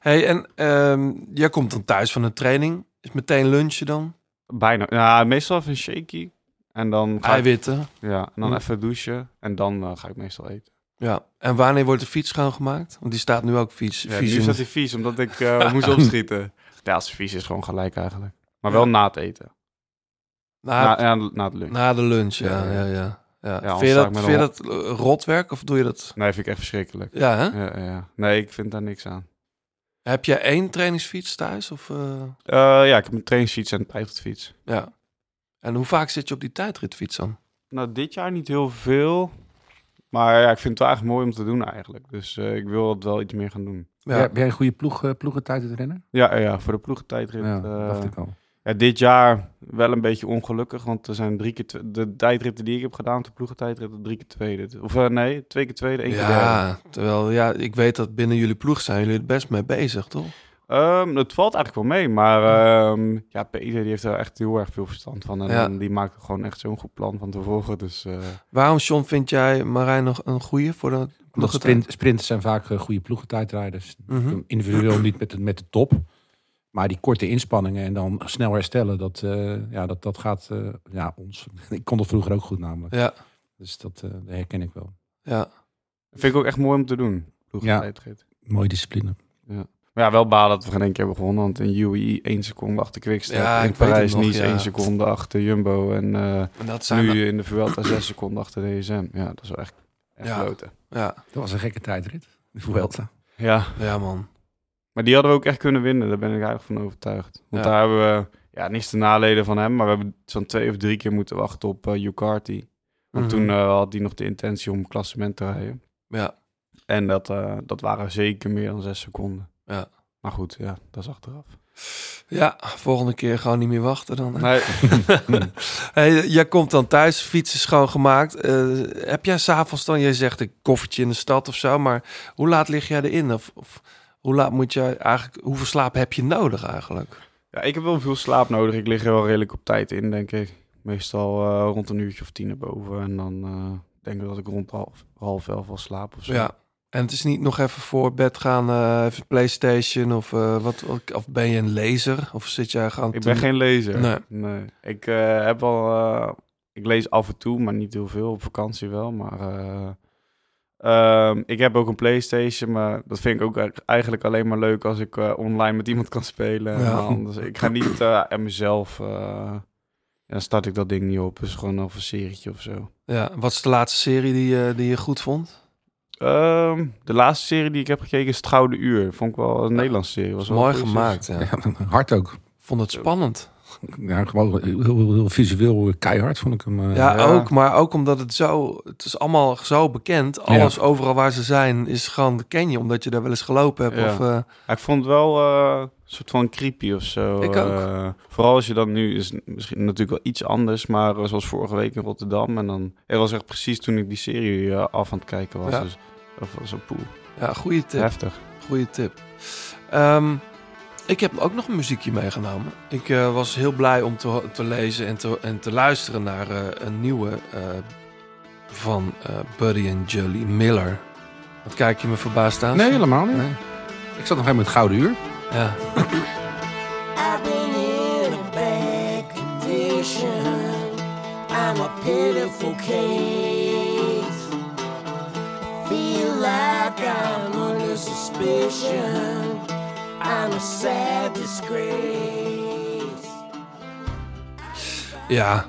S3: hey, en ehm, jij komt dan thuis van een training. Is meteen lunchen dan?
S9: Bijna. Ja, meestal even een shaky. En dan ga ik-
S3: Eiwitten.
S9: Ja, en dan
S3: Hm.
S9: even douchen. En dan eh, ga ik meestal eten.
S3: Ja. En wanneer wordt de fiets schoongemaakt? Want die staat nu ook fiets.
S9: Ja,
S3: vies
S9: nu
S3: in-
S9: staat hij vies, omdat ik eh, moest opschieten. Ja, als hij vies is gewoon gelijk eigenlijk. Maar wel na het eten.
S3: Na-
S9: Na, na, na het lunch.
S3: Na de lunch, ja.
S9: Ja,
S3: ja,
S9: ja.
S3: ja,
S9: Ja,
S3: ja.
S9: anders
S3: vind je
S9: sta
S3: dat,
S9: ik met
S3: vind je
S9: een
S3: dat eh, rotwerk of doe je dat?
S9: Nee, vind ik echt verschrikkelijk.
S3: Ja, hè?
S9: Ja, ja, ja. Nee, ik vind daar niks aan.
S3: Heb jij één trainingsfiets thuis? Of, eh,
S9: Eh, ja, ik heb een trainingsfiets en een tijdritfiets.
S3: ja. En hoe vaak zit je op die tijdritfiets dan?
S9: Nou, dit jaar niet heel veel. Maar ja, ik vind het wel eigenlijk mooi om te doen eigenlijk. Dus eh, ik wil het wel iets meer gaan doen.
S4: Ja. Ben jij een goede ploeg, eh, ploegentijd het rennen?
S9: Ja, ja, ja, voor de ploegentijdrit.
S4: Ja,
S9: eh,
S4: dacht ik al.
S9: Ja, dit jaar wel een beetje ongelukkig, want er zijn drie keer tw- de tijdritten die ik heb gedaan, de ploegentijdritten, drie keer tweede. Of eh, nee, twee keer tweede, één keer derde.
S3: Ja, terwijl ja, ik weet dat binnen jullie ploeg zijn jullie het best mee bezig, toch?
S9: Ehm, dat valt eigenlijk wel mee, maar ehm, ja, Peter die heeft er echt heel erg veel verstand van. En
S3: Ja.
S9: die maakt gewoon echt zo'n goed plan van tevoren. Dus eh,
S3: Waarom, John, vind jij Marijn nog een goede voor de
S4: Omdat
S3: ploegentijd?
S4: sprint, sprinters zijn vaak eh, goede ploegentijdrijders.
S3: Mhm.
S4: Individueel niet met de, met de top. Maar die korte inspanningen en dan snel herstellen, dat, eh, ja, dat, dat gaat eh, ja, ons. Ik kon dat vroeger ook goed namelijk.
S3: Ja.
S4: Dus dat eh, dat herken ik wel.
S3: Ja.
S9: dat vind ik ook echt mooi om te doen, ploegentijdrit.
S4: Mooie discipline.
S9: Ja. Maar ja, wel balen dat we geen één keer hebben gewonnen. Want in UAE één seconde achter Quickstep.
S3: Ja, ik
S9: in
S3: weet het
S9: Parijs
S3: nog,
S9: niet
S3: ja.
S9: één seconde achter Jumbo. En, eh,
S3: En dat zijn
S9: nu
S3: we-
S9: in de Vuelta zes seconden achter DSM. Ja, dat is wel echt, echt
S3: Ja.
S9: kloten.
S3: Ja.
S4: Dat was een gekke tijdrit. De Vuelta.
S9: Ja.
S3: ja, man.
S9: Maar die hadden we ook echt kunnen winnen. Daar ben ik eigenlijk van overtuigd. Want
S3: Ja.
S9: daar hebben we ja, niks te naleden van hem. Maar we hebben zo'n twee of drie keer moeten wachten op eh Ucarty. Want
S3: Mhm.
S9: toen eh, had hij nog de intentie om klassement te rijden.
S3: Ja.
S9: En dat, eh, dat waren zeker meer dan zes seconden.
S3: Ja.
S9: Maar goed, ja, dat is achteraf.
S3: Ja, volgende keer gewoon niet meer wachten dan. hè?
S9: Nee.
S3: hey, jij komt dan thuis, fiets is schoongemaakt. gemaakt. heb jij s'avonds dan, jij zegt een koffertje in de stad of zo, maar hoe laat lig jij erin? Of, of hoe laat moet jij eigenlijk, hoeveel slaap heb je nodig eigenlijk?
S9: Ja, ik heb wel veel slaap nodig. Ik lig er wel redelijk op tijd in, denk ik. Meestal eh, rond een uurtje of tien erboven. En dan eh, denk ik dat ik rond half, half elf wel slaap of zo.
S3: Ja. En het is niet nog even voor bed gaan, eh, even PlayStation of eh, wat, of ben je een lezer? Of zit jij gewoon.
S9: Ik
S3: te-
S9: ben geen lezer.
S3: Nee.
S9: Ik eh, heb wel... eh, ik lees af en toe, maar niet heel veel. Op vakantie wel, maar... eh, ehm, ik heb ook een Playstation, maar dat vind ik ook e- eigenlijk alleen maar leuk als ik eh, online met iemand kan spelen.
S3: Ja.
S9: Maar Anders, ik ga niet eh, aan mezelf... eh, ja, dan start ik dat ding niet op. Het is gewoon of een serietje of zo.
S3: Ja, wat is de laatste serie die, je- die je goed vond?
S9: Ehm, de laatste serie die ik heb gekeken is Het Gouden Uur. Vond ik wel een Nederlandse serie. Was wel
S3: Mooi
S9: goed,
S3: gemaakt.
S9: dus.
S3: Ja.
S4: Hard ook.
S3: Vond het spannend.
S4: Ja, gewoon heel, heel, heel visueel eh, keihard vond ik hem. eh.
S3: Ja, ook. Maar ook omdat het zo... Het is allemaal zo bekend. Alles overal waar ze zijn is gewoon... dat ken je, omdat je daar wel eens gelopen hebt.
S9: Ja.
S3: Of, eh,
S9: Ja, ik vond het wel eh, een soort van creepy of zo.
S3: Ik ook.
S9: Eh, vooral als je dan nu... is misschien natuurlijk wel iets anders, maar eh, zoals vorige week in Rotterdam. En dan... Het was echt precies toen ik die serie eh, af aan het kijken was.
S3: Ja.
S9: Dus dat was een poel.
S3: ja, goede tip.
S9: Heftig.
S3: Goede tip. Ehm, ik heb ook nog een muziekje meegenomen. Ik eh, was heel blij om te, te lezen en te, en te luisteren naar eh, een nieuwe eh, van eh, Buddy en Julie Miller. Wat kijk je me verbaasd aan?
S4: Nee, helemaal niet. Ik zat nog helemaal in het gouden uur.
S3: Ja.
S13: I've been in a bad condition. I'm a pitiful case. Feel like I'm under suspicion. I'm a sad disgrace.
S3: Ja,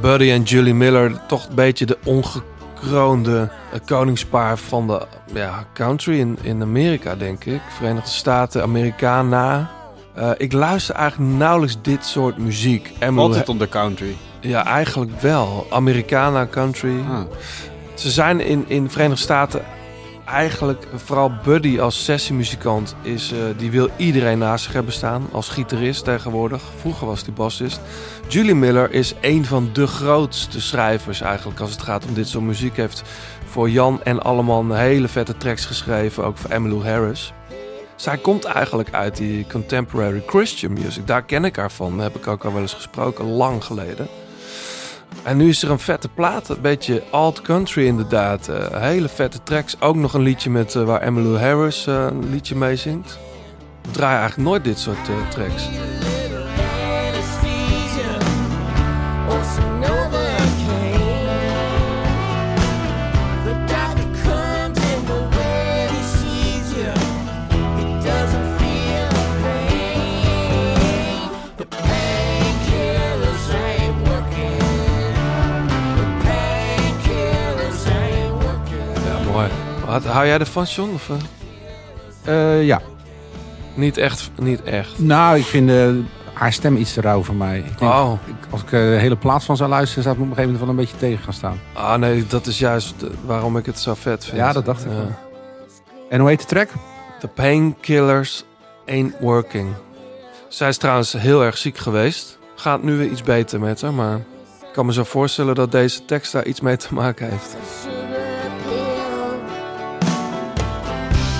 S3: Buddy en Julie Miller, toch een beetje de ongekroonde eh, koningspaar van de ja, country in, in Amerika, denk ik. Verenigde Staten, Americana. Eh, ik luister eigenlijk nauwelijks dit soort muziek. Emmylou-
S9: Altijd onder country.
S3: Ja, eigenlijk wel. Americana country.
S9: Ah.
S3: Ze zijn in, in Verenigde Staten eigenlijk vooral Buddy als sessiemuzikant is, eh, die wil iedereen naast zich hebben staan als gitarist tegenwoordig. Vroeger was hij bassist. Julie Miller is een van de grootste schrijvers eigenlijk als het gaat om dit soort muziek. Heeft voor Jan en Alleman hele vette tracks geschreven, ook voor Emmylou Harris. Zij komt eigenlijk uit die contemporary Christian music. Daar ken ik haar van. Daar heb ik ook al wel eens gesproken, lang geleden. En nu is er een vette plaat, een beetje alt country inderdaad. Eh, hele vette tracks. Ook nog een liedje met, eh, waar Emmylou Harris eh, een liedje mee zingt. We draaien eigenlijk nooit dit soort eh, tracks.
S13: anesthesia or some Novocaine. The doctor comes in, but when he sees you, he doesn't feel the pain. The painkillers ain't working. The painkillers ain't working.
S3: Ja, mooi. Wat, hou jij ervan, John? Of, eh?
S4: Eh, ja.
S3: Niet echt, niet echt.
S4: Nou, ik vind eh, haar stem iets te rauw voor mij. Ik denk,
S3: Oh.
S4: ik- als ik er de hele plaat van zou luisteren, zou ik me op een gegeven moment wel een beetje tegen gaan staan.
S3: Ah nee, dat is juist eh, waarom ik het zo vet vind.
S4: Ja, dat dacht ik wel. En hoe heet de track?
S3: The Painkillers Ain't Working. Zij is trouwens heel erg ziek geweest. Gaat nu weer iets beter met haar, maar... Ik kan me zo voorstellen dat deze tekst daar iets mee te maken heeft.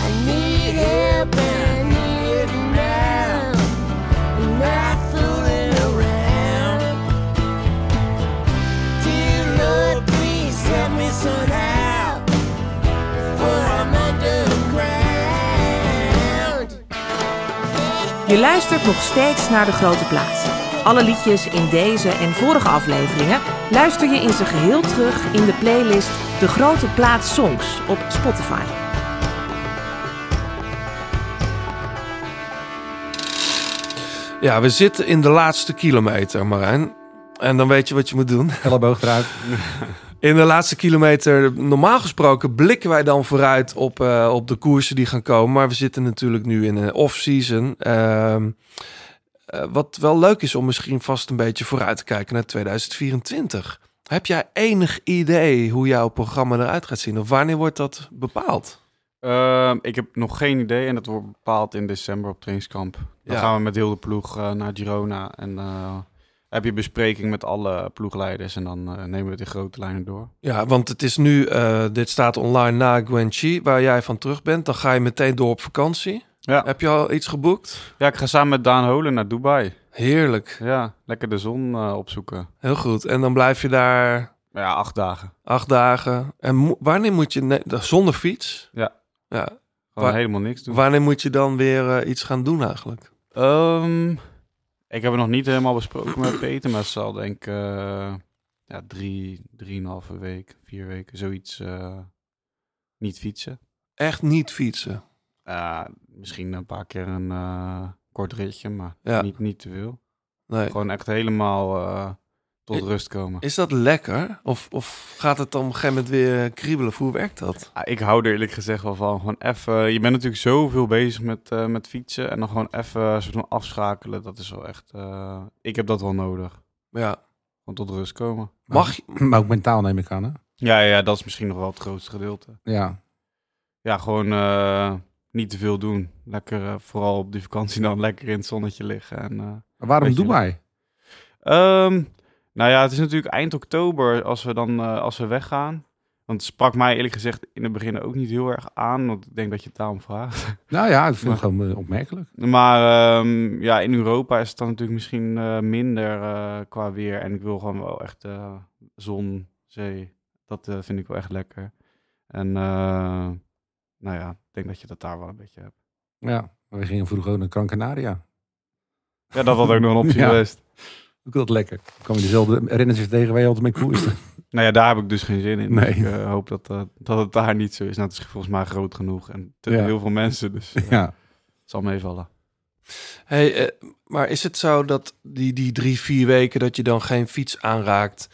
S13: I need help and I need it now. I'm not fooling around. Dear Lord, please help me somehow before I'm underground.
S8: Je luistert nog steeds naar De Grote Plaats. Alle liedjes in deze en vorige afleveringen luister je in zijn geheel terug in de playlist De Grote Plaats Songs op Spotify.
S3: Ja, we zitten in de laatste kilometer, Marijn. En dan weet je wat je moet doen.
S4: Elleboog eruit.
S3: In de laatste kilometer, normaal gesproken, blikken wij dan vooruit op, eh, op de koersen die gaan komen. Maar we zitten natuurlijk nu in een off-season. Ehm, eh, wat wel leuk is om misschien vast een beetje vooruit te kijken naar 2024. Heb jij enig idee hoe jouw programma eruit gaat zien? Of wanneer wordt dat bepaald?
S9: Ehm, ik heb nog geen idee en dat wordt bepaald in december op trainingskamp. Dan
S3: Ja.
S9: gaan we met heel de ploeg eh, naar Girona en eh, heb je bespreking met alle ploegleiders en dan eh, nemen we het in grote lijnen door.
S3: Ja, want het is nu, eh, dit staat online na Guanxi, waar jij van terug bent. Dan ga je meteen door op vakantie. Heb je al iets geboekt?
S9: Ja, ik ga samen met Daan Holen naar Dubai.
S3: Heerlijk.
S9: Ja, lekker de zon eh, opzoeken.
S3: Heel goed. En dan blijf je daar...
S9: Ja, acht dagen.
S3: Acht dagen. En mo- wanneer moet je... ne- zonder fiets?
S9: Ja.
S3: ja.
S9: Gewoon helemaal niks doen.
S3: Wanneer moet je dan weer eh, iets gaan doen eigenlijk?
S9: Ehm, ik heb het nog niet helemaal besproken met Peter, maar het zal denk ik eh, ja, drie, drieënhalve week, vier weken, zoiets eh, niet fietsen.
S3: Echt niet fietsen?
S9: Eh, misschien een paar keer een eh, kort ritje, maar
S3: Ja.
S9: niet, niet te veel.
S3: Nee.
S9: Gewoon echt helemaal eh, tot
S3: I-
S9: rust komen.
S3: Is dat lekker? Of, of gaat het dan op een gegeven moment weer kriebelen? Of Hoe werkt dat?
S9: Ja, Ah, ik hou er eerlijk gezegd wel van. Gewoon even, je bent natuurlijk zoveel bezig met, eh, met fietsen en dan gewoon even een soort van afschakelen. Dat is wel echt, eh, ik heb dat wel nodig.
S3: Ja.
S9: Gewoon tot rust komen.
S3: Mag
S4: Maar ook mentaal neem ik aan, hè?
S9: Ja, ja, dat is misschien nog wel het grootste gedeelte.
S4: Ja.
S9: Ja, gewoon eh, niet te veel doen. Lekker, eh, vooral op die vakantie dan, lekker in het zonnetje liggen. En, eh,
S4: Maar waarom
S9: weet je
S4: Dubai?
S9: wel. Ehm, nou ja, het is natuurlijk eind oktober als we dan eh, als we weggaan. Want het sprak mij eerlijk gezegd in het begin ook niet heel erg aan. Want ik denk dat je het daarom vraagt.
S4: Nou ja, ik vind
S9: Maar-
S4: het gewoon eh, opmerkelijk.
S9: Maar ehm, ja, in Europa is het dan natuurlijk misschien eh, minder eh, qua weer. En ik wil gewoon wel echt eh, zon, zee Dat eh, vind ik wel echt lekker. En eh, nou ja, ik denk dat je dat daar wel een beetje hebt.
S10: Ja, we gingen vroeger ook naar Gran Canaria.
S9: Ja, dat was ook nog een optie
S10: Ja.
S9: geweest.
S10: Ook dat lekker. Dan kwam je dezelfde renners weer tegen waar je altijd mee koerste.
S9: Nou ja, daar heb ik dus geen zin in.
S10: Nee.
S9: Ik eh, hoop dat, eh, dat het daar niet zo is. Nou, het is volgens mij groot genoeg en te
S10: Ja.
S9: heel veel mensen, dus eh,
S10: Ja.
S9: het zal meevallen.
S3: Hey, eh, maar is het zo dat die, die drie, vier weken dat je dan geen fiets aanraakt,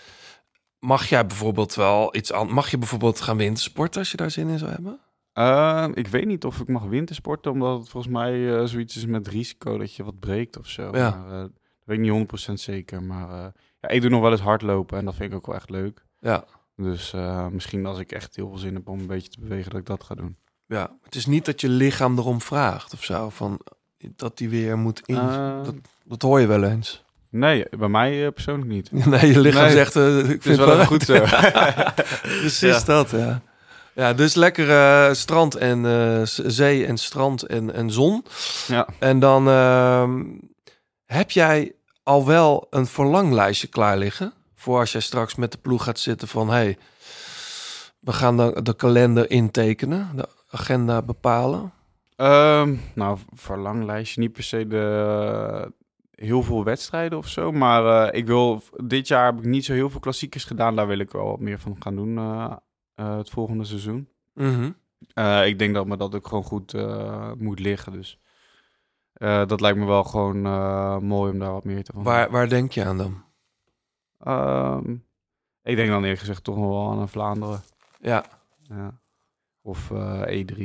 S3: mag jij bijvoorbeeld wel iets aan? Mag je bijvoorbeeld gaan wintersporten als je daar zin in zou hebben?
S9: Ehm, ik weet niet of ik mag wintersporten, omdat het volgens mij eh, zoiets is met risico dat je wat breekt of zo.
S3: Ja.
S9: Maar, eh, dat weet ik niet 100% zeker, maar eh, ja, ik doe nog wel eens hardlopen en dat vind ik ook wel echt leuk.
S3: Ja.
S9: Dus eh, misschien als ik echt heel veel zin heb om een beetje te bewegen, dat ik dat ga doen.
S3: Ja, het is niet dat je lichaam erom vraagt of zo, van dat die weer moet in.
S9: Eh.
S3: Ehm, dat, dat hoor je wel eens.
S9: Nee, bij mij eh, persoonlijk niet.
S3: Nee, je lichaam
S9: Nee,
S3: zegt, eh, ik vind
S9: het is wel
S3: wel
S9: even goed zo.
S3: Precies
S9: Ja.
S3: dat, ja. Ja, dus lekker eh, strand en eh, z- zee en strand en, en zon.
S9: Ja.
S3: En dan ehm, heb jij al wel een verlanglijstje klaar liggen voor als jij straks met de ploeg gaat zitten van hey, we gaan de, de kalender intekenen, de agenda bepalen.
S9: Ehm, nou, verlanglijstje niet per se de, heel veel wedstrijden of zo. Maar eh, ik wil, dit jaar heb ik niet zo heel veel klassiekers gedaan. Daar wil ik wel wat meer van gaan doen eh, eh, het volgende seizoen.
S3: Mhm.
S9: Eh, ik denk dat me dat ook gewoon goed eh, moet liggen. Dus eh, dat lijkt me wel gewoon eh, mooi om daar wat meer te van
S3: Waar, waar denk je aan dan?
S9: Ehm, ik denk dan eerlijk gezegd toch nog wel aan een Vlaanderen.
S3: Ja.
S9: ja. Of eh, E3.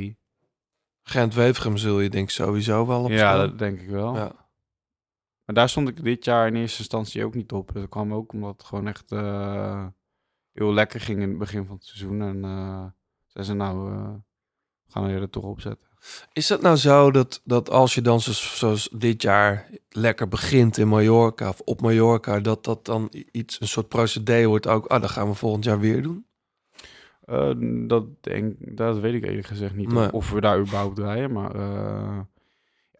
S3: Gent-Wevergem zul je denk ik sowieso wel op
S9: Ja,
S3: staan.
S9: dat denk ik wel.
S3: Ja.
S9: Maar daar stond ik dit jaar in eerste instantie ook niet op. Dus Dat kwam ook omdat het gewoon echt eh, heel lekker ging in het begin van het seizoen. En eh zeiden ze nou, eh, we gaan we er toch op zetten.
S3: Is dat nou zo dat, dat als je dan zo- zoals dit jaar lekker begint in Mallorca of op Mallorca, dat dat dan i- iets, een soort procedé wordt ook, ah, dat gaan we volgend jaar weer doen?
S9: Eh, dat, denk, dat weet ik eerlijk gezegd niet.
S3: Nee.
S9: Of we daar überhaupt draaien. Maar eh,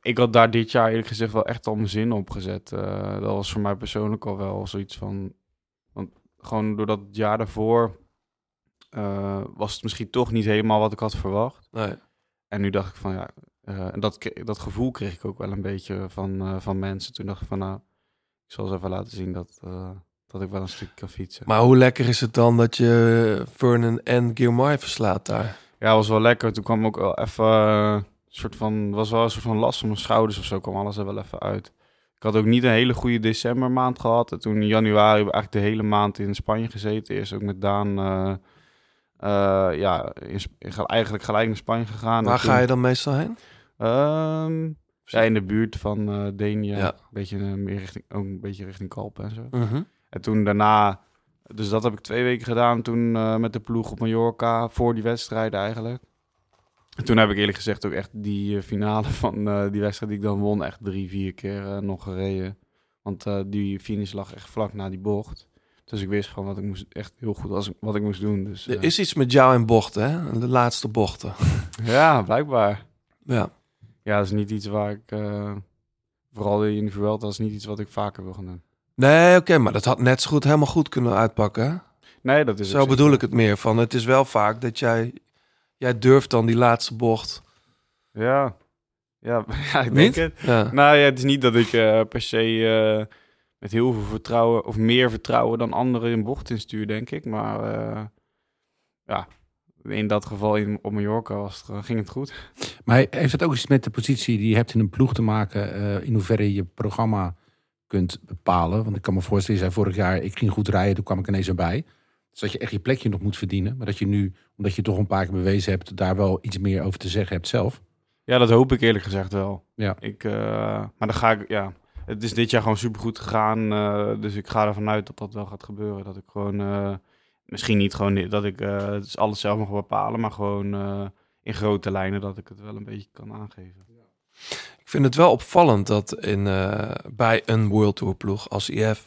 S9: ik had daar dit jaar eerlijk gezegd wel echt al mijn zin op gezet. Eh, dat was voor mij persoonlijk al wel zoiets van. Want gewoon door dat jaar daarvoor eh, was het misschien toch niet helemaal wat ik had verwacht.
S3: Nee.
S9: En nu dacht ik van ja. eh, en dat, kre- dat gevoel kreeg ik ook wel een beetje van, eh, van mensen. Toen dacht ik van nou. Ik zal ze even laten zien dat, eh, dat ik wel een stukje kan fietsen.
S3: Maar hoe lekker is het dan dat je Vernon en Guillemard verslaat daar?
S9: Ja, was wel lekker. Toen kwam ook wel even eh, een soort van, was wel een soort van last van mijn schouders of zo. Kwam alles er wel even uit. Ik had ook niet een hele goede decembermaand gehad. En toen in januari heb ik eigenlijk de hele maand in Spanje gezeten. Eerst ook met Daan. eh, eh, ja, in, Sp- ik ga eigenlijk gelijk naar Spanje gegaan. En
S3: Waar
S9: toen-
S3: ga je dan meestal heen?
S9: Ehm, ja, in de buurt van eh Denia.
S3: Ja.
S9: Beetje, eh, meer richting, ook een beetje richting Kalpen en zo.
S3: Mhm.
S9: En toen daarna, dus dat heb ik twee weken gedaan toen eh, met de ploeg op Mallorca. Voor die wedstrijden eigenlijk. En toen heb ik eerlijk gezegd ook echt die eh, finale van eh, die wedstrijd die ik dan won, echt drie, vier keer eh, nog gereden. Want eh, die finish lag echt vlak na die bocht. Dus ik wist gewoon wat ik moest, echt heel goed als, wat ik moest doen. Dus,
S3: Er
S9: eh,
S3: is iets met jou en bochten, hè? De laatste bochten.
S9: ja, blijkbaar.
S3: Ja.
S9: Ja, dat is niet iets waar ik... eh, vooral in de Vuelta is niet iets wat ik vaker wil gaan doen.
S3: Nee, oké, maar dat had net zo goed helemaal goed kunnen uitpakken. hè?
S9: Nee, dat is ook
S3: Zo bedoel Dus ik het meer van. Het is wel vaak dat jij, jij durft dan die laatste bocht.
S9: Ja. Ja, ja ik
S3: Niet?
S9: denk het.
S3: Ja.
S9: Nou ja, het is niet dat ik eh, per se eh, met heel veel vertrouwen... of meer vertrouwen dan anderen een bocht instuur, denk ik. Maar eh, ja, in dat geval in, op Mallorca was het, gewoon- ging het goed.
S10: Maar heeft dat ook iets met de positie die je hebt in een ploeg te maken? eh, in hoeverre je programma kunt bepalen? Want ik kan me voorstellen, je zei vorig jaar, ik ging goed rijden, toen kwam ik ineens erbij. Dus dat je echt je plekje nog moet verdienen. Maar dat je nu, omdat je toch een paar keer bewezen hebt, daar wel iets meer over te zeggen hebt zelf.
S9: Ja, dat hoop ik eerlijk gezegd wel.
S10: Ja.
S9: Ik, eh, maar dan ga ik... Ja, het is dit jaar gewoon supergoed gegaan. eh, dus ik ga ervan uit dat dat wel gaat gebeuren. Dat ik gewoon... eh, misschien niet gewoon dat ik eh, dus alles zelf mag bepalen. Maar gewoon eh, in grote lijnen dat ik het wel een beetje kan aangeven.
S3: Ik vind het wel opvallend dat in, eh, bij een World Tour ploeg als IF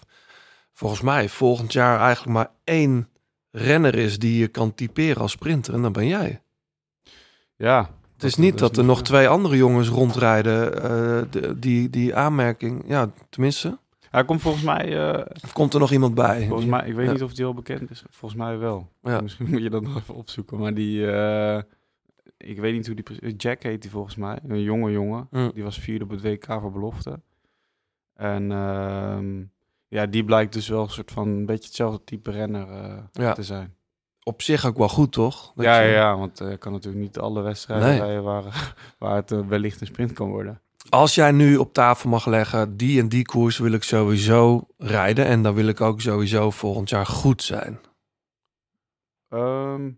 S3: volgens mij volgend jaar eigenlijk maar één renner is die je kan typeren als sprinter. En dan ben jij.
S9: Ja.
S3: Het is niet dat er
S9: eh,
S3: nog twee andere jongens rondrijden eh, de- die, die aanmerking. Ja, tenminste.
S9: Hij komt volgens mij... eh,
S3: Of komt er nog iemand bij?
S9: Volgens mij, ik weet
S3: Ja.
S9: niet of die al bekend is. Volgens mij wel.
S3: Ja.
S9: Misschien moet je dat nog even opzoeken. Maar die, eh, ik weet niet hoe die precies... Jack heet die volgens mij. Een jonge jongen.
S3: Mm.
S9: Die was vierde op het WK voor belofte. En ehm, ja, die blijkt dus wel een soort van een beetje hetzelfde type renner eh,
S3: Ja.
S9: te zijn.
S3: Op zich ook wel goed, toch? Dat
S9: Ja,
S3: je-
S9: ja, ja, want eh, kan natuurlijk niet alle wedstrijden
S3: Nee.
S9: rijden waar, waar het eh, wellicht een sprint kan worden.
S3: Als jij nu op tafel mag leggen, die en die koers wil ik sowieso rijden. En dan wil ik ook sowieso volgend jaar goed zijn.
S9: Ehm,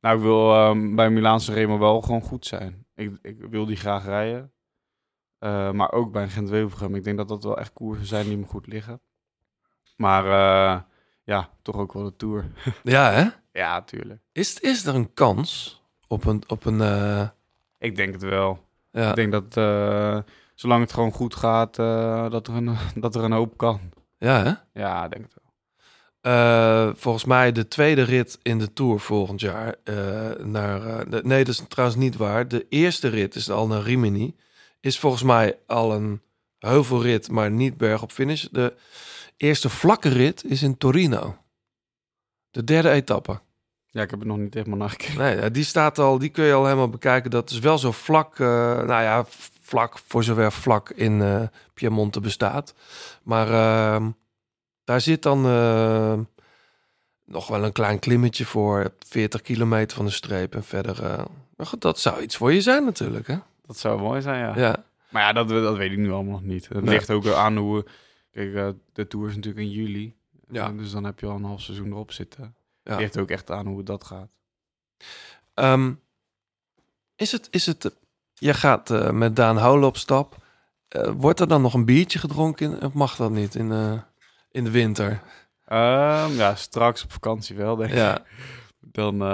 S9: nou, ik wil ehm, bij Milaanse Remo wel gewoon goed zijn. Ik, ik wil die graag rijden. Eh, maar ook bij een gent wevelgem Ik denk dat dat wel echt koersen zijn die me goed liggen. Maar eh, ja, toch ook wel de Tour.
S3: Ja, hè?
S9: ja, tuurlijk.
S3: Is, is er een kans op een... Op een eh,
S9: Ik denk het wel.
S3: Ja.
S9: Ik denk dat eh, zolang het gewoon goed gaat, eh, dat, er een, dat er een hoop kan.
S3: Ja, hè?
S9: Ja, ik denk het wel.
S3: Eh, volgens mij de tweede rit in de Tour volgend jaar. eh, naar, eh, de- nee, dat is trouwens niet waar. De eerste rit is al naar Rimini. Is volgens mij al een heuvelrit, maar niet berg op finish. De eerste vlakke rit is in Torino. De derde etappe.
S9: Ja, ik heb het nog niet helemaal nagekeken.
S3: Nee, ja, die staat al, die kun je al helemaal bekijken. Dat is wel zo vlak, eh, nou ja, v- vlak voor zover vlak in eh Piemonte bestaat. Maar ehm, daar zit dan ehm, nog wel een klein klimmetje voor, 40 kilometer van de streep en verder. eh, maar goed, dat zou iets voor je zijn natuurlijk, hè?
S9: Dat zou mooi zijn, ja.
S3: Ja.
S9: Maar ja, dat, dat weet ik nu allemaal nog niet. Het
S3: Nee.
S9: ligt ook aan hoe... Kijk, eh, de Tour is natuurlijk in juli.
S3: Ja.
S9: Eh, Dus dan heb je al een half seizoen erop zitten.
S3: Ja.
S9: Het ligt ook echt aan hoe dat gaat.
S3: Ehm, is het, is het, eh, je gaat eh, met Daan Holen op stap. Eh, wordt er dan nog een biertje gedronken in- of mag dat niet in, eh, in de winter?
S9: Ehm, ja, straks op vakantie wel, denk ik.
S3: Ja.
S9: Dan eh,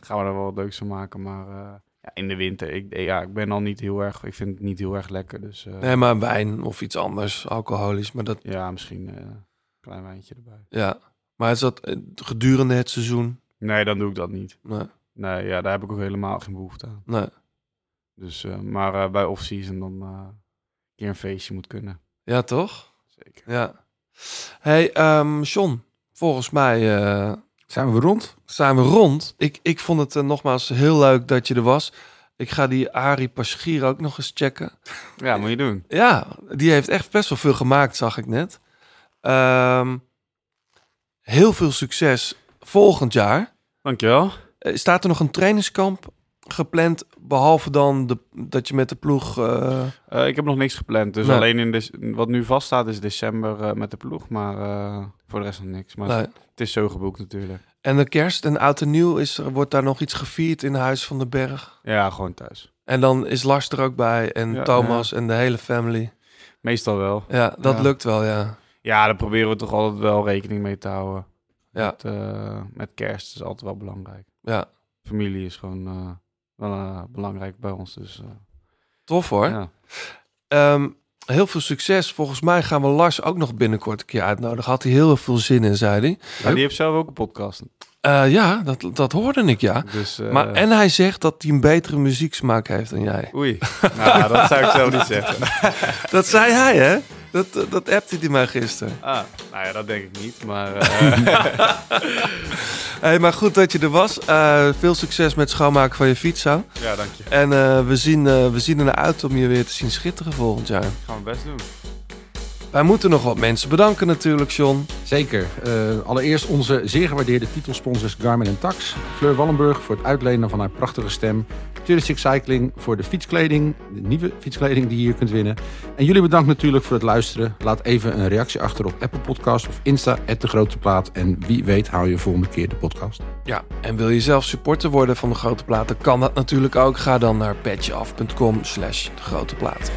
S9: gaan we er wel wat leuks van maken. Maar eh, ja, in de winter, ik, ja, ik ben al niet heel erg... Ik vind het niet heel erg lekker, dus... eh,
S3: Nee, maar wijn of iets anders, alcoholisch. Maar dat,
S9: Ja, misschien eh, een klein wijntje erbij.
S3: ja. Maar is dat eh, gedurende het seizoen?
S9: Nee, dan doe ik dat niet.
S3: Nee.
S9: Nee, ja, daar heb ik ook helemaal geen behoefte aan.
S3: Nee.
S9: Dus, eh, maar eh, bij off-season dan eh, een keer een feestje moet kunnen.
S3: Ja, toch? Zeker. Ja. hey, ehm John, volgens mij... eh,
S4: zijn we rond?
S3: Zijn we rond. Ik, ik vond het eh, nogmaals heel leuk dat je er was. Ik ga die Ari Paschier ook nog eens checken.
S9: Ja, moet je doen.
S3: Ja, die heeft echt best wel veel gemaakt, zag ik net. Ehm, heel veel succes volgend jaar.
S9: Dankjewel.
S3: Eh, Staat er nog een trainingskamp gepland, behalve dan de, dat je met de ploeg... eh,
S9: Eh, ik heb nog niks gepland, dus
S3: Nee.
S9: alleen in de, wat nu vaststaat is december eh, met de ploeg, maar eh, voor de rest nog niks. Maar
S3: Nee.
S9: het is zo geboekt natuurlijk.
S3: eh, En de kerst en oud en nieuw, is er, wordt daar nog iets gevierd in Huis van den Berg?
S9: Ja, gewoon thuis.
S3: En dan is Lars er ook bij en
S9: Ja,
S3: Thomas en de hele family.
S9: Meestal wel.
S3: Ja, dat lukt wel, ja.
S9: Ja, daar proberen we toch altijd wel rekening mee te houden.
S3: Ja.
S9: Met, eh, met kerst is altijd wel belangrijk.
S3: Ja.
S9: Familie is gewoon eh, wel eh, belangrijk bij ons, dus... eh,
S3: Tof hoor.
S9: Ja.
S3: Ehm, heel veel succes. Volgens mij gaan we Lars ook nog binnenkort een keer uitnodigen. Had hij heel veel zin in, zei hij.
S9: Ja, die heeft zelf ook een podcast.
S3: Eh, ja, dat, dat hoorde ik, ja.
S9: Dus, eh,
S3: maar, en hij zegt dat hij een betere muzieksmaak heeft dan jij.
S9: Oei. Nou, dat zou ik zelf niet zeggen.
S3: dat zei hij, hè? Dat, dat, dat appte hij mij gisteren.
S9: Ah, nou ja, dat denk ik niet, maar... eh,
S3: Hey, maar goed dat je er was. Eh, veel succes met schoonmaken van je fiets, zo.
S9: Ja, dank je.
S3: En eh, we, zien, eh, we zien ernaar uit om je weer te zien schitteren volgend jaar.
S9: Gaan we best doen.
S3: Wij moeten nog wat mensen bedanken natuurlijk, John.
S4: Zeker. Eh, allereerst onze zeer gewaardeerde titelsponsors Garmin en Tax. Fleur Wallenburg voor het uitlenen van haar prachtige stem. Touristic Cycling voor de fietskleding. De nieuwe fietskleding die je hier kunt winnen. En jullie bedankt natuurlijk voor het luisteren. Laat even een reactie achter op Apple Podcast of Insta, de Grote Plaat. En wie weet hou je volgende keer de podcast.
S3: Ja, en wil je zelf supporter worden van De Grote Plaat? Dan kan dat natuurlijk ook. Ga dan naar patjeaf.com slash De Grote Plaat.